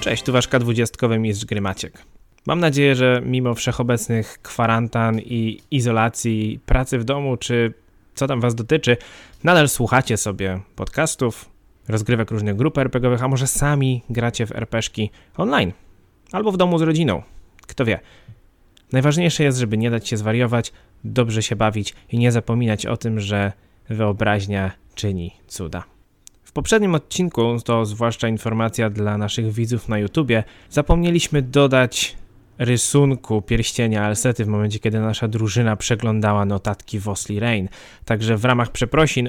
Cześć, tu wasz K20 mistrz gry Maciek. Mam nadzieję, że mimo wszechobecnych kwarantan i izolacji, pracy w domu, czy co tam was dotyczy, nadal słuchacie sobie podcastów, rozgrywek różnych grup RPGowych, a może sami gracie w RPGki online albo w domu z rodziną. Kto wie. Najważniejsze jest, żeby nie dać się zwariować, dobrze się bawić i nie zapominać o tym, że wyobraźnia czyni cuda. W poprzednim odcinku, to zwłaszcza informacja dla naszych widzów na YouTubie, zapomnieliśmy dodać rysunku pierścienia Alsety w momencie, kiedy nasza drużyna przeglądała notatki Vosli Rain. Także w ramach przeprosin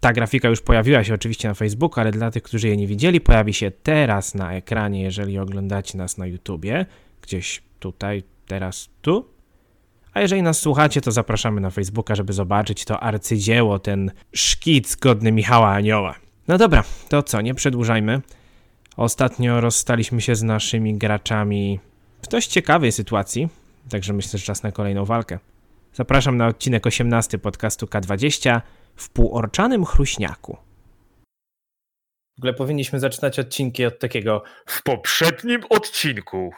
ta grafika już pojawiła się oczywiście na Facebooku, ale dla tych, którzy jej nie widzieli, pojawi się teraz na ekranie, jeżeli oglądacie nas na YouTubie. Gdzieś tutaj, teraz, tu. A jeżeli nas słuchacie, to zapraszamy na Facebooka, żeby zobaczyć to arcydzieło, ten szkic godny Michała Anioła. No dobra, to co, nie przedłużajmy. Ostatnio rozstaliśmy się z naszymi graczami w dość ciekawej sytuacji, także myślę, że czas na kolejną walkę. Zapraszam na odcinek 18 podcastu K20 w półorczanym chruśniaku. W ogóle powinniśmy zaczynać odcinki od takiego W poprzednim odcinku.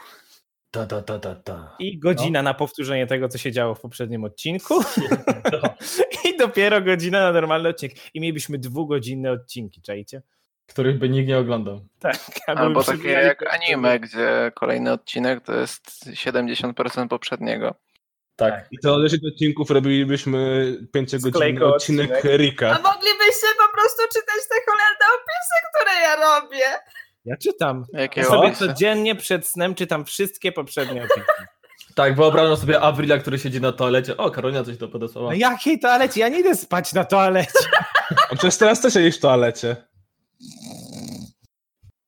Ta, ta, ta, ta, ta. i godzina na powtórzenie tego, co się działo w poprzednim odcinku No. i dopiero godzina na normalny odcinek. I mielibyśmy dwugodzinne odcinki, czajcie? Których by nikt nie oglądał. A były Albo takie przewijane- jak anime, gdzie kolejny odcinek to jest 70% poprzedniego. Tak. I to leży do odcinków, robilibyśmy pięciogodzinny Sklejko odcinek odcinek. Rika. A moglibyście po prostu czytać te cholerne opisy, które ja robię. Ja czytam. Jakie Ja sobie opisy? codziennie przed snem czytam wszystkie poprzednie odcinki. Tak, wyobrażam sobie Avrila, który siedzi na toalecie. O, Karolina coś to podesłała. No jakiej toalecie? Ja nie idę spać na toalecie. A przecież teraz też siedzisz w toalecie.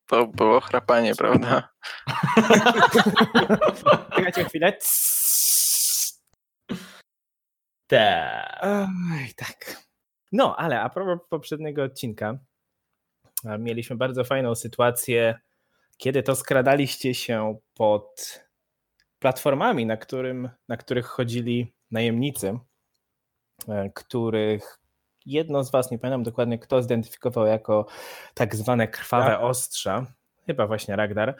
To było chrapanie, prawda? Czekajcie chwilę. Tak. Oj, tak. No, ale a propos poprzedniego odcinka, a mieliśmy bardzo fajną sytuację, kiedy to skradaliście się pod platformami, na, którym, na których chodzili najemnicy, e, których jedno z was, nie pamiętam dokładnie kto, zidentyfikował jako tak zwane krwawe ostrza, chyba właśnie Ragnar,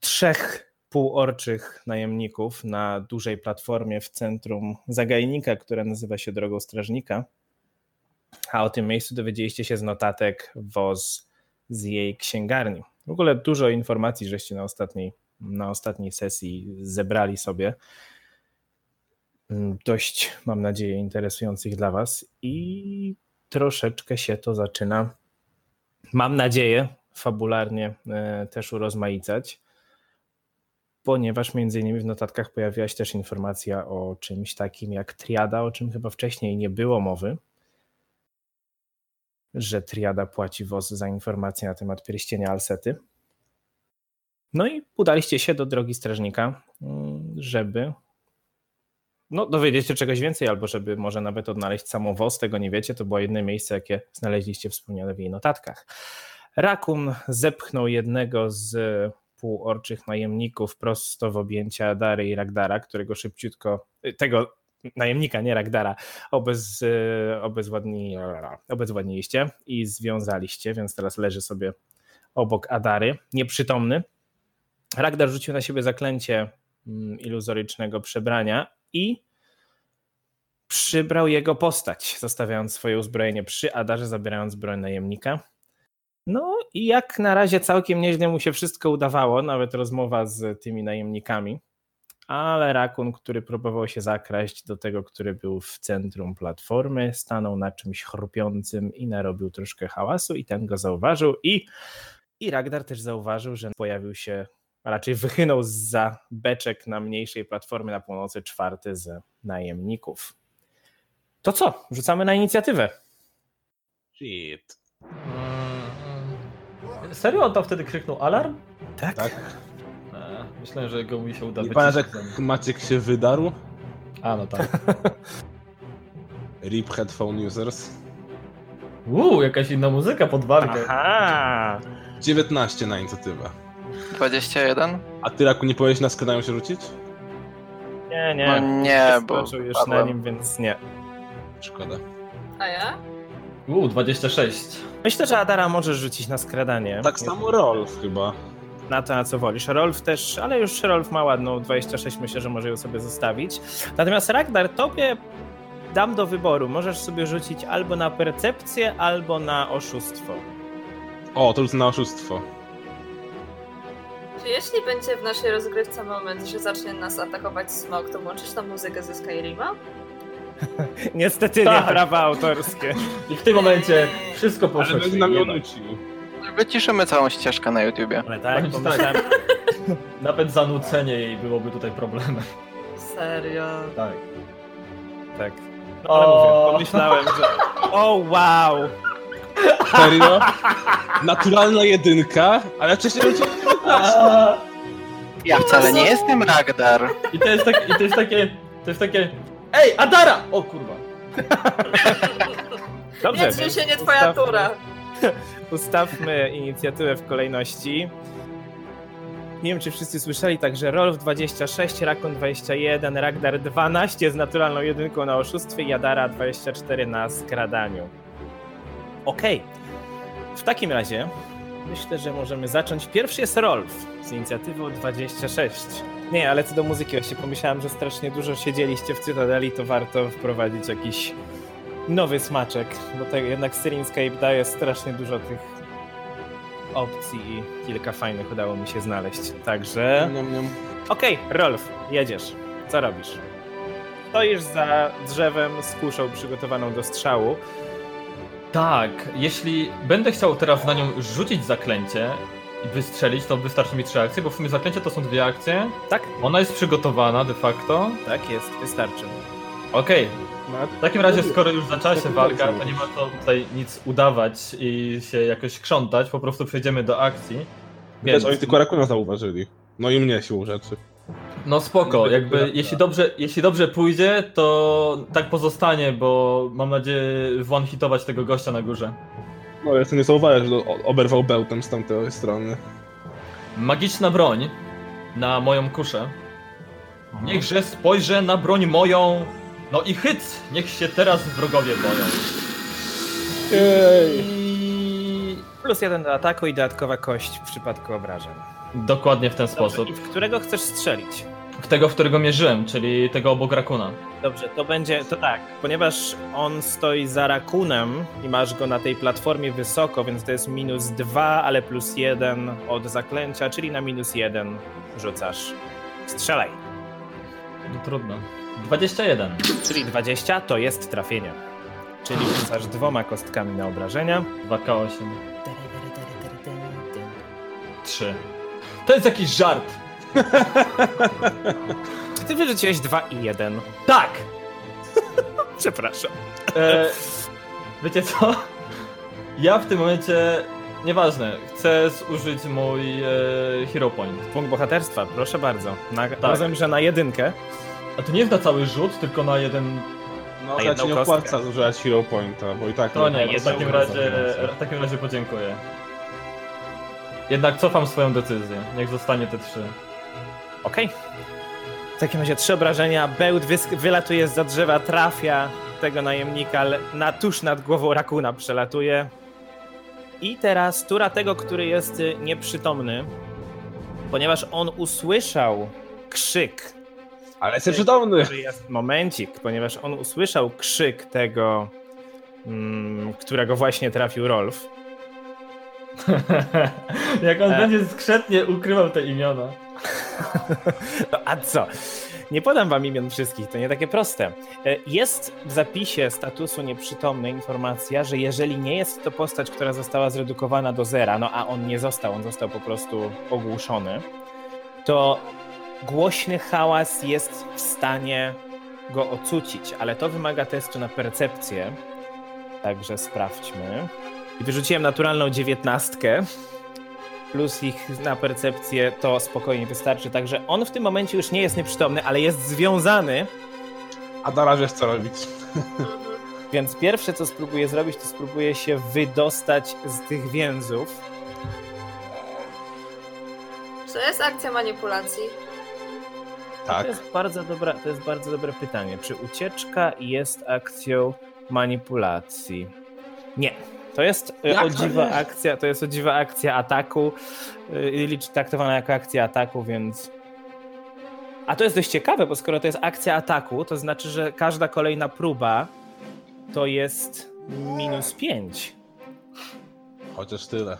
trzech półorczych najemników na dużej platformie w centrum zagajnika, która nazywa się Drogą Strażnika. A o tym miejscu dowiedzieliście się z notatek woz z jej księgarni. W ogóle dużo informacji żeście na ostatniej, na ostatniej sesji zebrali sobie. Mm, Dość, mam nadzieję, interesujących dla Was i troszeczkę się to zaczyna, mam nadzieję, fabularnie e, też urozmaicać ponieważ między innymi w notatkach pojawiła się też informacja o czymś takim jak triada, o czym chyba wcześniej nie było mowy, że triada płaci WOS za informacje na temat pierścienia Alsety. No i udaliście się do drogi strażnika, mm, żeby no, dowiedzieć się czegoś więcej, albo żeby może nawet odnaleźć samą WOS, tego nie wiecie, to było jedyne miejsce, jakie znaleźliście wspomniane w jej notatkach. Rakun zepchnął jednego z półorczych najemników prosto w objęcia Dary i Ragdara, którego szybciutko, y, tego najemnika, nie Ragdara, obez, y, obezwładni, obezwładniliście i związaliście, więc teraz leży sobie obok Adary, nieprzytomny. Ragdar rzucił na siebie zaklęcie mm, iluzorycznego przebrania i przybrał jego postać, zostawiając swoje uzbrojenie przy Adarze, zabierając broń najemnika. No i jak na razie całkiem nieźle mu się wszystko udawało, nawet rozmowa z tymi najemnikami. Ale rakun, który próbował się zakraść do tego, który był w centrum platformy, stanął na czymś chrupiącym i narobił troszkę hałasu i ten go zauważył i, i Ragnar też zauważył, że pojawił się, a raczej wychynął za beczek na mniejszej platformie na północy czwarty z najemników. To co? Rzucamy na inicjatywę. Shit. Mm. Serio on tam wtedy krzyknął alarm? Tak. Eee, myślałem, że go mi się uda Nie wycisnąć. pamiętasz jak Maciek się wydarł? A, no tak. RIP Headphone Users. Uuu, jakaś inna muzyka pod wargę. Aha! 19 na inicjatywę. 21? A ty, Raku, nie powinieneś na skradają się rzucić? Nie, nie. No nie, bo Skoczył już na padłem. nim, więc nie. Szkoda. A ja? Uuu, 26. Myślę, że Adara może rzucić na skradanie. Tak samo Rolf chyba. na to, na co wolisz. Rolf też, ale już Rolf ma ładną 26, myślę, że może ją sobie zostawić. Natomiast Ragnar, tobie dam do wyboru. Możesz sobie rzucić albo na percepcję, albo na oszustwo. O, to już na oszustwo. Czy jeśli będzie w naszej rozgrywce moment, że zacznie nas atakować smok, to włączysz tam muzykę ze Skyrima? Niestety Tak. nie prawa autorskie. I w tym momencie wszystko poszło. Ale będzie się nam ją jebać. nucił. Wyciszymy całą ścieżkę na YouTubie. Ale tak, Tak. pomyślałem, Nawet zanucenie jej byłoby tutaj problemem. Serio. Tak. tak. No, ale O. mówię, pomyślałem, że... O, wow! Serio? Naturalna jedynka, ale wcześniej będzie A, Ja wcale nie jestem Ragdar. I to jest, tak, i to jest takie. To jest takie. Ej, Adara! O kurwa. Dobrze, Tak. Nie, więc dzisiaj nie twoja ustawmy- tura. Ustawmy inicjatywę w kolejności. Nie wiem, czy wszyscy słyszeli, także Rolf 26, Rakon 21, Ragdar 12 z naturalną jedynką na oszustwie, Jadara 24 na skradaniu. Okej. W takim razie myślę, że możemy zacząć. Pierwszy jest Rolf z inicjatywą 26. Nie, ale co do muzyki, właśnie pomyślałem, że strasznie dużo siedzieliście w Cytadeli, to warto wprowadzić jakiś nowy smaczek, bo tak jednak Syrianscape daje strasznie dużo tych opcji i kilka fajnych udało mi się znaleźć. Także. Niam, niam. Okej, Rolf, jedziesz. Co robisz? Stoisz za drzewem z kuszą przygotowaną do strzału. Tak, jeśli będę chciał teraz na nią rzucić zaklęcie i wystrzelić, to wystarczy mi trzy akcje, bo w sumie zaklęcie to są dwie akcje. Tak? Ona jest przygotowana de facto. Tak jest, wystarczy. Okej, No, w takim razie skoro już zaczęła się Tak, walka, tak. to nie ma co tutaj nic udawać i się jakoś krzątać, po prostu przejdziemy do akcji. Wiesz, oni tylko rakuna zauważyli. No i mnie siłą rzeczy. No spoko, jakby jeśli dobrze, jeśli dobrze pójdzie, to tak pozostanie, bo mam nadzieję one-hitować tego gościa na górze. No ja to nie zauważyłem, że o- oberwał bełtem z tamtej strony. Magiczna broń na moją kuszę. Niechże spojrzę na broń moją. No i hyc, niech się teraz wrogowie boją. Jej! I... Plus jeden do ataku i dodatkowa kość w przypadku obrażeń. Dokładnie w ten Dobrze, sposób. i w którego chcesz strzelić? W tego, w którego mierzyłem, czyli tego obok Rakuna. Dobrze, to będzie, to tak, ponieważ on stoi za rakunem i masz go na tej platformie wysoko, więc to jest minus dwa, ale plus jeden od zaklęcia, czyli na minus jeden rzucasz. Strzelaj. No trudno. 21. Czyli 20 to jest trafienie. Czyli rzucasz dwoma kostkami na obrażenia. 2K8. 3. To jest jakiś żart. Czy ty wyrzuciłeś dwa i jeden? Tak! Przepraszam. E, wiecie co? Ja w tym momencie, nieważne, chcę zużyć mój e, hero point. Punkt bohaterstwa, proszę bardzo. Na, Tak. Rozumiem, że na jedynkę. A to nie jest na cały rzut, tylko na jeden... No ja jedną ci nie kostkę. opłaca zużywać hero pointa, bo i tak... To nie, jest w takim, dobra razie, w takim razie podziękuję. Jednak cofam swoją decyzję, niech zostanie te trzy. Okej. W takim razie trzy obrażenia. Bełt wysk- wylatuje z drzewa, trafia tego najemnika le- na tuż nad głową rakuna przelatuje. I teraz tura tego, który jest y, nieprzytomny, ponieważ on usłyszał krzyk Ale jestem przytomny! że jest momencik, ponieważ on usłyszał krzyk tego, mm, którego właśnie trafił Rolf. Jak on E. będzie skrzętnie ukrywał te imiona. No, a co? Nie podam wam imion wszystkich, to nie takie proste. E, Jest w zapisie statusu nieprzytomny informacja, że jeżeli nie jest to postać, która została zredukowana do zera, no a on nie został, on został po prostu ogłuszony, to głośny hałas jest w stanie go ocucić, ale to wymaga testu na percepcję. Także sprawdźmy. I wyrzuciłem naturalną dziewiętnastkę plus ich na percepcję to spokojnie wystarczy. Także on w tym momencie już nie jest nieprzytomny, ale jest związany, A na razie co robić. więc pierwsze co spróbuje zrobić, to spróbuje się wydostać z tych więzów. Czy to jest akcja manipulacji? Tak. To jest bardzo, dobra, to jest bardzo dobre pytanie. Czy ucieczka jest akcją manipulacji? Nie. To jest Jak e, o to dziwa nie? akcja, to jest o dziwa akcja ataku e, i licz traktowana jako akcja ataku, więc... A to jest dość ciekawe, bo skoro to jest akcja ataku, to znaczy, że każda kolejna próba to jest minus 5. Chociaż tyle.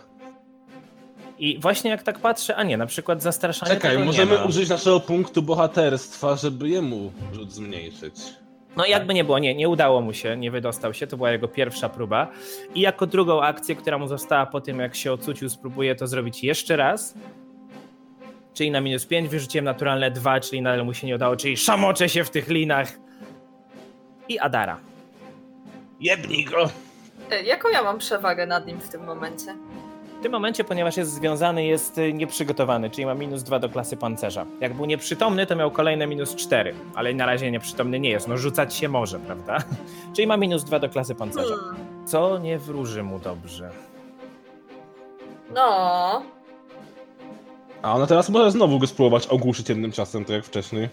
I właśnie jak tak patrzę, a nie, na przykład zastraszanie. Czekaj, tego nie możemy ma. użyć naszego punktu bohaterstwa, żeby jemu rzut zmniejszyć. No jakby nie było, nie, nie udało mu się, nie wydostał się, to była jego pierwsza próba. I jako drugą akcję, która mu została po tym, jak się ocucił, spróbuję to zrobić jeszcze raz. Czyli na minus 5 wyrzuciłem naturalne 2, czyli nadal mu się nie udało, czyli szamoczę się w tych linach. I Adara. Jebnij go! E, Jaką ja mam przewagę nad nim w tym momencie? W tym momencie, ponieważ jest związany, jest y, nieprzygotowany, czyli ma minus 2 do klasy pancerza. Jak był nieprzytomny, to miał kolejne minus 4, ale na razie nieprzytomny nie jest, no rzucać się może, prawda? czyli ma minus 2 do klasy pancerza. Hmm. Co nie wróży mu dobrze. No, A ona teraz może znowu go spróbować ogłuszyć jednym czasem, tak jak wcześniej.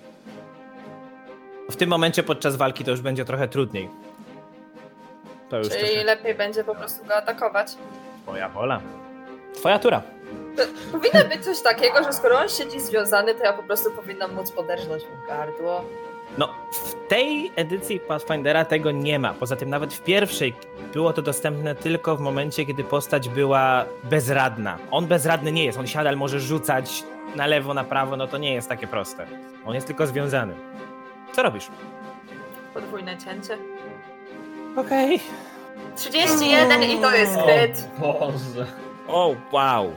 W tym momencie podczas walki to już będzie trochę trudniej. To już czyli trochę lepiej będzie po prostu go atakować. twoja wola. Twoja tura. Powinno być coś takiego, że skoro on siedzi związany, to ja po prostu powinnam móc poderżnąć mu gardło. No, w tej edycji Pathfindera tego nie ma. Poza tym nawet w pierwszej było to dostępne tylko w momencie, kiedy postać była bezradna. On bezradny nie jest, on siada, ale może rzucać na lewo, na prawo, no to nie jest takie proste. On jest tylko związany. Co robisz? Podwójne cięcie. Okej. 31 i to jest kryt, O Boże. O, wow.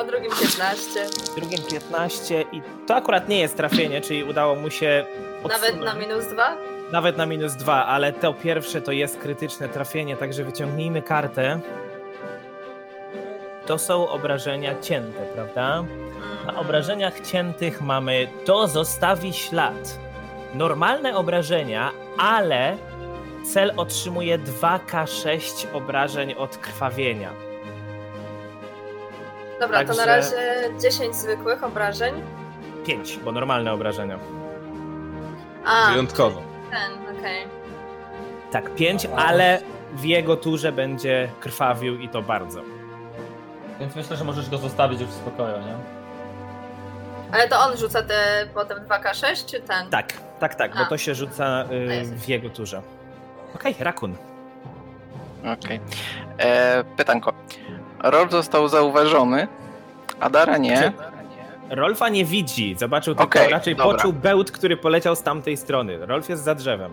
a drugim 15. Drugim 15 i to akurat nie jest trafienie, czyli udało mu się Nawet na odsunąć. minus 2. Nawet na minus dwa, ale to pierwsze to jest krytyczne trafienie, także wyciągnijmy kartę. To są obrażenia cięte, prawda? Mm. Na obrażeniach ciętych mamy to zostawi ślad. Normalne obrażenia, ale cel otrzymuje 2k6 obrażeń od krwawienia. Dobra, to Także- na razie 10 zwykłych obrażeń. 5, bo normalne obrażenia. A, Wyjątkowo. ten, okej. Tak, 5, ale w jego turze będzie krwawił i to bardzo. Więc myślę, że możesz go zostawić już w spokoju, nie? Ale to on rzuca te potem 2K6, czy ten? Tak, tak, tak, bo A. to się rzuca A, y, jasne. w jego turze. Okej, rakun. Okej. E, Pytanko. Rol został zauważony, a Dara Znaczy, nie. Rolfa nie widzi, zobaczył tylko, Okej, raczej dobra. poczuł bełt, który poleciał z tamtej strony. Rolf jest za drzewem.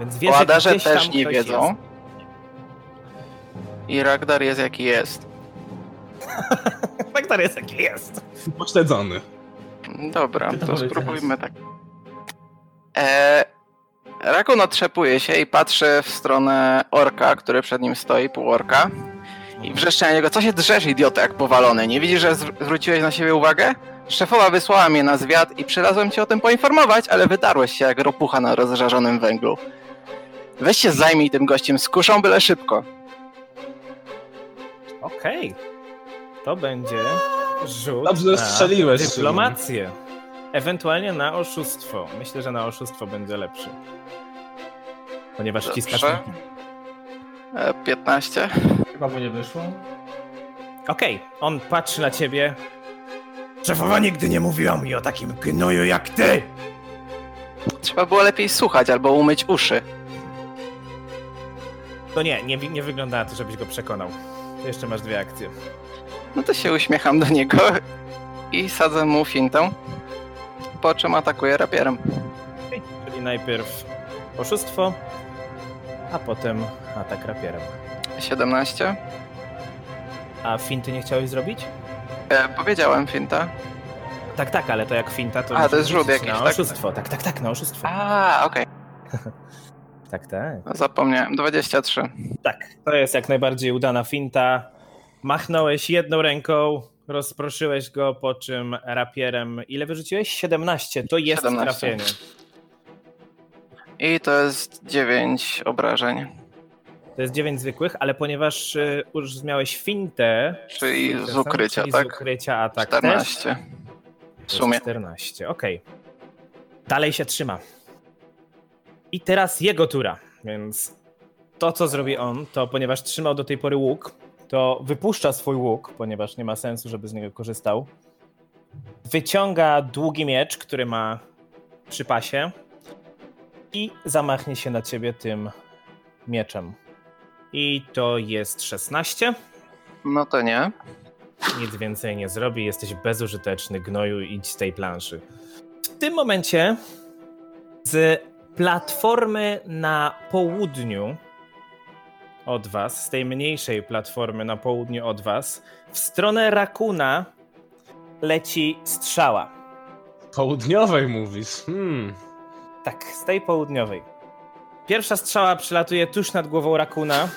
Więc wie, O że Adarze gdzieś tam też nie ktoś wiedzą. Jest. I Ragdar jest jaki jest. Faktor jest jaki jest. Pośledzony. Dobra, Ty to to powiedz spróbujmy tak. E, Rakun otrzepuje się i patrzy w stronę orka, który przed nim stoi, półorka. I wrzeszczy na niego, co się drzesz, idioto, jak powalony? Nie widzisz, że zwr- zwróciłeś na siebie uwagę? Szefowa wysłała mnie na zwiat i przylazłem cię o tym poinformować, ale wydarłeś się jak ropucha na rozżarzonym węglu. Weź się zajmij tym gościem z kuszą, byle szybko. Okej. To będzie rzut Dobrze, że na strzeliłeś, Szymon. dyplomację. Ewentualnie na oszustwo. Myślę, że na oszustwo będzie lepszy. Ponieważ Dobrze. wciskasz... E, 15. Chyba mu nie wyszło. Okej, on patrzy na ciebie. Szefowa nigdy nie mówiła mi o takim gnoju jak ty! Trzeba było lepiej słuchać albo umyć uszy. No nie, nie, wi- nie wygląda na to, żebyś go przekonał. To jeszcze masz dwie akcje. No to się uśmiecham do niego i sadzę mu fintę, po czym atakuję rapierem. Okej, Czyli najpierw oszustwo, a potem atak rapierem. 17. A finty nie chciałeś zrobić? E, powiedziałem finta. Tak, tak, ale to jak finta to... A, musisz to jest rzut rzucić jakiś, Na tak? oszustwo, tak, tak, tak, na oszustwo. A, okej, Tak, tak. zapomniałem. 23. Tak, to jest jak najbardziej udana finta. Machnąłeś jedną ręką, rozproszyłeś go, po czym rapierem... Ile wyrzuciłeś? 17, to jest 17. trafienie. I to jest 9 obrażeń, To jest 9 zwykłych, ale ponieważ y, już miałeś fintę... czyli z Fintę, ukrycia, czyli Z tak? ukrycia, a tak też, 14. W To jest sumie. 14, okej. Dalej się trzyma. I teraz jego tura, więc to, co zrobi on, to ponieważ trzymał do tej pory łuk, to wypuszcza swój łuk, ponieważ nie ma sensu, żeby z niego korzystał. Wyciąga długi miecz, który ma przy pasie i zamachnie się na ciebie tym mieczem. I to jest 16. No to nie. Nic więcej nie zrobi, jesteś bezużyteczny, gnoju, idź z tej planszy. W tym momencie z platformy na południu od was, z tej mniejszej platformy na południu od was, w stronę Rakuna leci strzała. Południowej mówisz. Hmm. Tak, z tej południowej. Pierwsza strzała przylatuje tuż nad głową rakuna.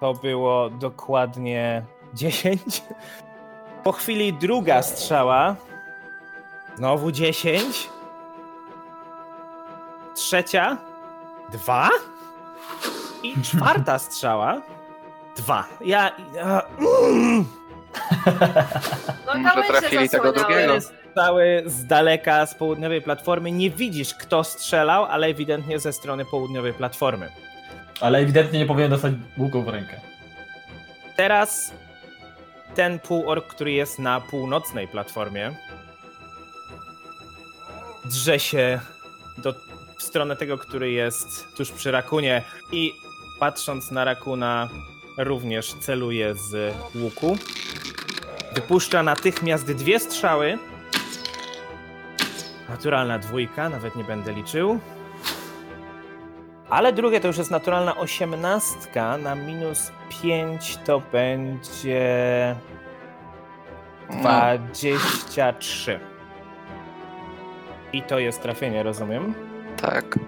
To było dokładnie 10. Po chwili druga strzała. Znowu 10. Trzecia. Dwa. I czwarta strzała. Dwa. Ja. ja mm. No Może kawałek się trafili tego zasłaniały. drugiego. cały z daleka z południowej platformy. Nie widzisz, kto strzelał, ale ewidentnie ze strony południowej platformy. Ale ewidentnie nie powinien dostać łuku w rękę. Teraz ten półork, który jest na północnej platformie, drze się do, w stronę tego, który jest tuż przy rakunie i patrząc na rakuna również celuje z łuku. Wypuszcza natychmiast dwie strzały. Naturalna dwójka, nawet nie będę liczył. Ale drugie to już jest naturalna osiemnastka na minus 5 to będzie No. 23. I to jest trafienie, rozumiem? Tak.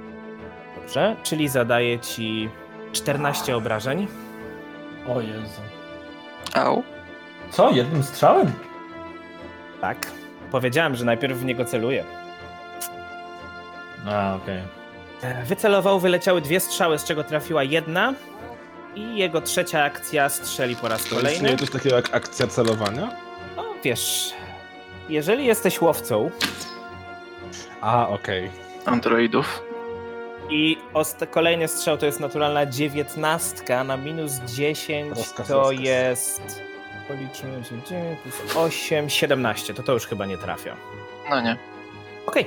Dobrze, czyli zadaję ci 14 obrażeń. O Jezu. Au. Co? Jednym strzałem? Tak. Powiedziałem, że najpierw w niego celuję. A, okej. E, Wycelował, wyleciały dwie strzały, z czego trafiła jedna. I jego trzecia akcja strzeli po raz To kolejny. istnieje coś takiego jak akcja celowania? No wiesz, jeżeli jesteś łowcą, A, okej. Androidów. I ost- kolejny strzał to jest naturalna dziewiętnastka na minus 10 Rozkaz, to rozkaz. jest. Policzmy się 9 plus 8, 17. To to już chyba nie trafia. No nie. Okej.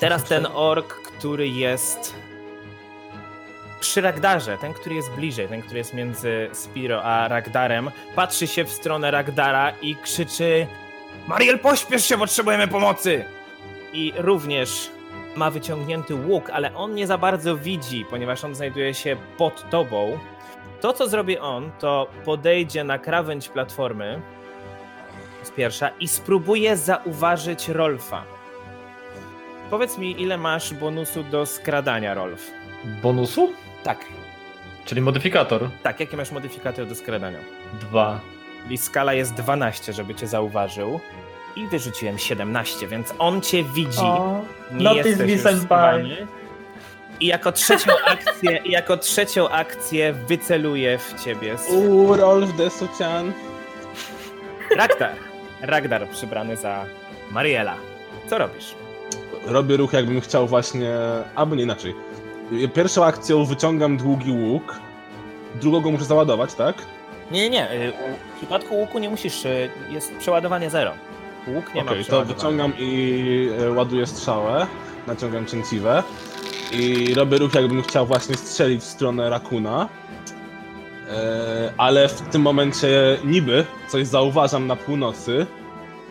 Teraz ten ork, który jest przy Ragdarze, ten, który jest bliżej, ten, który jest między Spiro a Ragdarem, patrzy się w stronę Ragdara i krzyczy Mariel, pośpiesz się, potrzebujemy pomocy! I również ma wyciągnięty łuk, ale on nie za bardzo widzi, ponieważ on znajduje się pod tobą. To, co zrobi on, to podejdzie na krawędź platformy, z pierwsza i spróbuję zauważyć Rolfa. Powiedz mi, ile masz bonusu do skradania, Rolf? Bonusu? Tak. Czyli modyfikator. Tak, jakie masz modyfikator do skradania? Dwa. Czyli skala jest 12, żeby cię zauważył. I wyrzuciłem 17, więc on cię widzi. nie no jesteś już schowany. I jako trzecią akcję, i jako trzecią akcję wyceluję w ciebie. z- Uuu, Rolf Desucian. Ragdar. Ragdar przybrany za Mariela. Co robisz? Robię ruch, jakbym chciał właśnie... Albo nie inaczej. Pierwszą akcją wyciągam długi łuk. Drugą go muszę załadować, tak? Nie, nie, nie. y, W przypadku łuku nie musisz. y, Jest przeładowanie zero. Łuk nie Okej, ma to przeładowania. wyciągam i e, ładuję strzałę, naciągam cięciwę i robię ruch, jakbym chciał właśnie strzelić w stronę rakuna. E, Ale w tym momencie niby coś zauważam na północy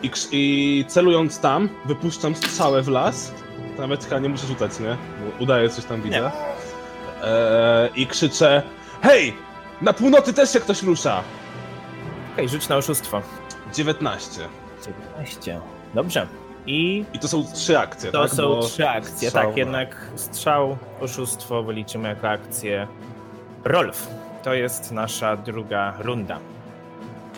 i, krz- i celując tam, wypuszczam strzałę w las. To Nawet chyba nie muszę rzucać, nie? Bo udaje coś tam widzę. E, I krzyczę: Hej! Na północy też się ktoś rusza! Okej, rzuć na oszustwo. 19. 19. Dobrze. I I to są trzy akcje, to tak? są Bo trzy akcje. strzał, tak, no. jednak strzał, oszustwo wyliczymy jako akcję. Rolf. To jest nasza druga runda.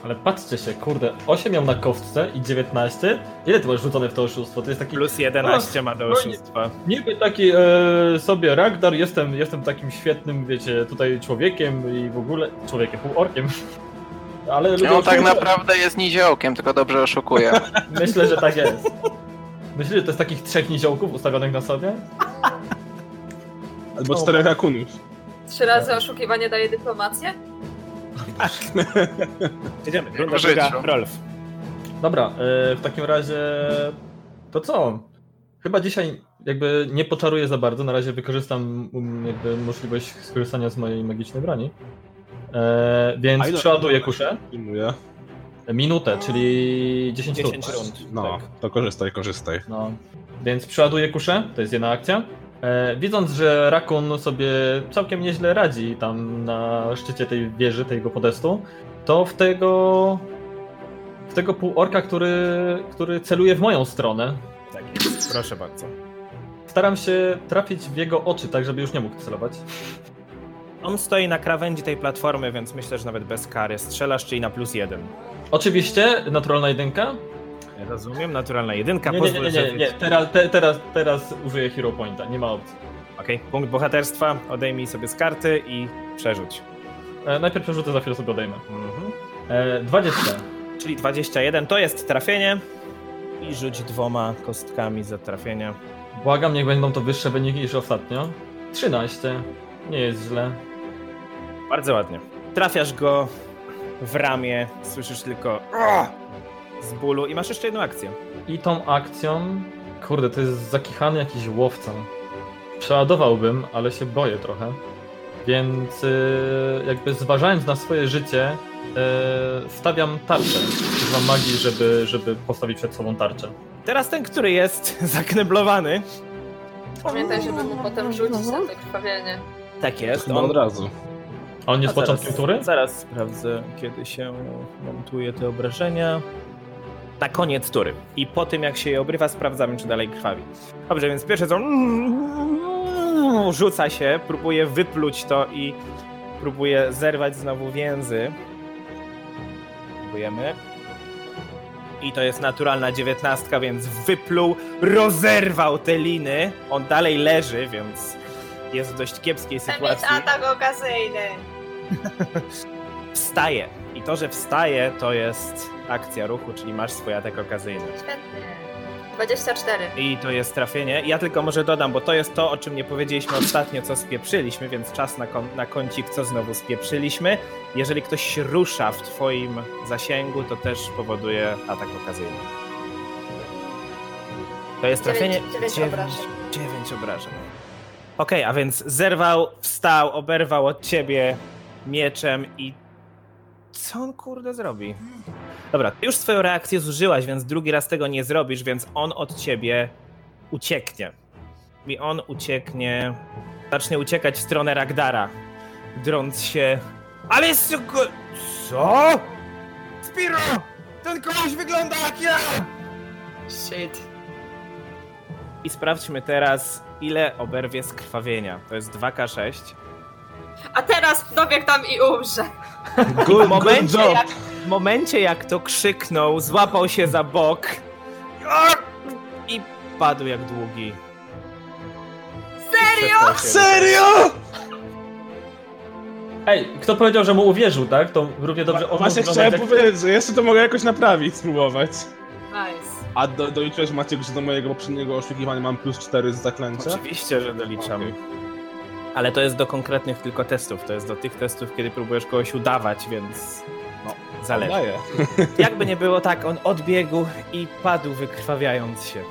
Ale patrzcie się, kurde, 8 miał na kostce i 19. Ile ty masz rzucone w to oszustwo? To jest taki Plus 11 ma do no nie- oszustwa. niby taki e, sobie Ragdar, jestem, jestem takim świetnym, wiecie, tutaj człowiekiem i w ogóle człowiekiem, półorkiem. Ale lubię No tak oszukiwać. naprawdę jest niziołkiem, tylko dobrze oszukuje. Myślę, że tak jest. Myślę, że to jest takich trzech niziołków ustawionych na sobie. Albo czterech rakunów. Trzy razy oszukiwanie daje dyplomację? Jedziemy, runda życiu. druga, Rolf. Dobra, e, w takim razie to co? Chyba dzisiaj jakby nie poczaruję za bardzo, na razie wykorzystam um, jakby możliwość skorzystania z mojej magicznej broni. E, A więc ile- przeładuję kuszę. Filmuję. Minutę, czyli 10, 10 rund. rund. No, Tak. to korzystaj, korzystaj. No. Więc przeładuję kuszę, to jest jedna akcja. E, widząc, że Rakun sobie całkiem nieźle radzi tam na szczycie tej wieży, tego podestu, to w tego. w tego półorka, który, który celuje w moją stronę, Tak jest, proszę bardzo. staram się trafić w jego oczy, tak żeby już nie mógł celować. On stoi na krawędzi tej platformy, więc myślę, że nawet bez kary strzelasz, czyli na plus jeden. Oczywiście, naturalna jedynka. Rozumiem, naturalna jedynka, Nie, nie, nie, pozwól, nie, że- nie, nie. Teraz, te, teraz, teraz użyję Hero Pointa, nie ma opcji. Okej, punkt bohaterstwa, odejmij sobie z karty i przerzuć. E, najpierw przerzucę, za chwilę sobie odejmę. Mhm. E, 20. Czyli 21 to jest trafienie i rzuć dwoma kostkami za trafienie. Błagam, niech będą to wyższe wyniki niż ostatnio. 13. Nie jest źle. Bardzo ładnie. Trafiasz go w ramię, słyszysz tylko "O!" z bólu i masz jeszcze jedną akcję. I tą akcją. Kurde, to jest zakichany jakiś łowca. Przeładowałbym, ale się boję trochę. Więc y, jakby zważając na swoje życie, y, stawiam tarczę. Używam magii, żeby, żeby postawić przed sobą tarczę. Teraz ten, który jest zakneblowany. Pamiętaj, żeby mu potem rzucić na to krwawienie. Tak jest. Chyba od razu. A on jest A początkiem zaraz- tury? Zaraz sprawdzę, kiedy się montuje te obrażenia. Na koniec tury. I po tym, jak się je obrywa, sprawdzamy, czy dalej krwawi. Dobrze, więc pierwsze co... Rzuca się, próbuje wypluć to i próbuje zerwać znowu więzy. Próbujemy. I to jest naturalna dziewiętnastka, więc wypluł, rozerwał te liny. On dalej leży, więc jest w dość kiepskiej sytuacji okazyjny. wstaje. I to, że wstaje, to jest akcja ruchu, czyli masz swój atak okazyjny. Świetnie. 24. I to jest trafienie. Ja tylko może dodam, bo to jest to, o czym nie powiedzieliśmy ostatnio, co spieprzyliśmy, więc czas na, kon- na kącik, co znowu spieprzyliśmy. Jeżeli ktoś się rusza w twoim zasięgu, to też powoduje atak okazyjny. To jest trafienie... Dziewięć- dziewięć dziewięć- obrażeń. Dziewięć obrażeń. Okej, a więc zerwał, wstał, oberwał od ciebie mieczem i... Co on kurde zrobi? Dobra, ty już swoją reakcję zużyłaś, więc drugi raz tego nie zrobisz, więc on od ciebie ucieknie. I on ucieknie. Zacznie uciekać w stronę Ragdara, drąc się. Ale jest. tylko- Co? Spiro! Ten kogoś wygląda jak ja! Shit. I sprawdźmy teraz, ile oberwie z krwawienia. To jest 2K6. A teraz dobieg tam i umrze. Good, w, Good momencie, job! jak, w momencie, jak to krzyknął, złapał się za bok. I padł jak długi. Serio? Serio? Ej, kto powiedział, że mu uwierzył, tak? To równie dobrze on Właśnie mógł chciałem wyglądać jak- powiedzieć, że jeszcze to mogę jakoś naprawić, spróbować. Nice. A do, doliczyłeś Maciek, że do mojego poprzedniego oszukiwania mam plus 4 z zaklęcia? Oczywiście, że doliczam. Okej. Ale to jest do konkretnych tylko testów. To jest do tych testów, kiedy próbujesz kogoś udawać, więc no, zależy. Daję. Jakby nie było tak, on odbiegł i padł wykrwawiając się.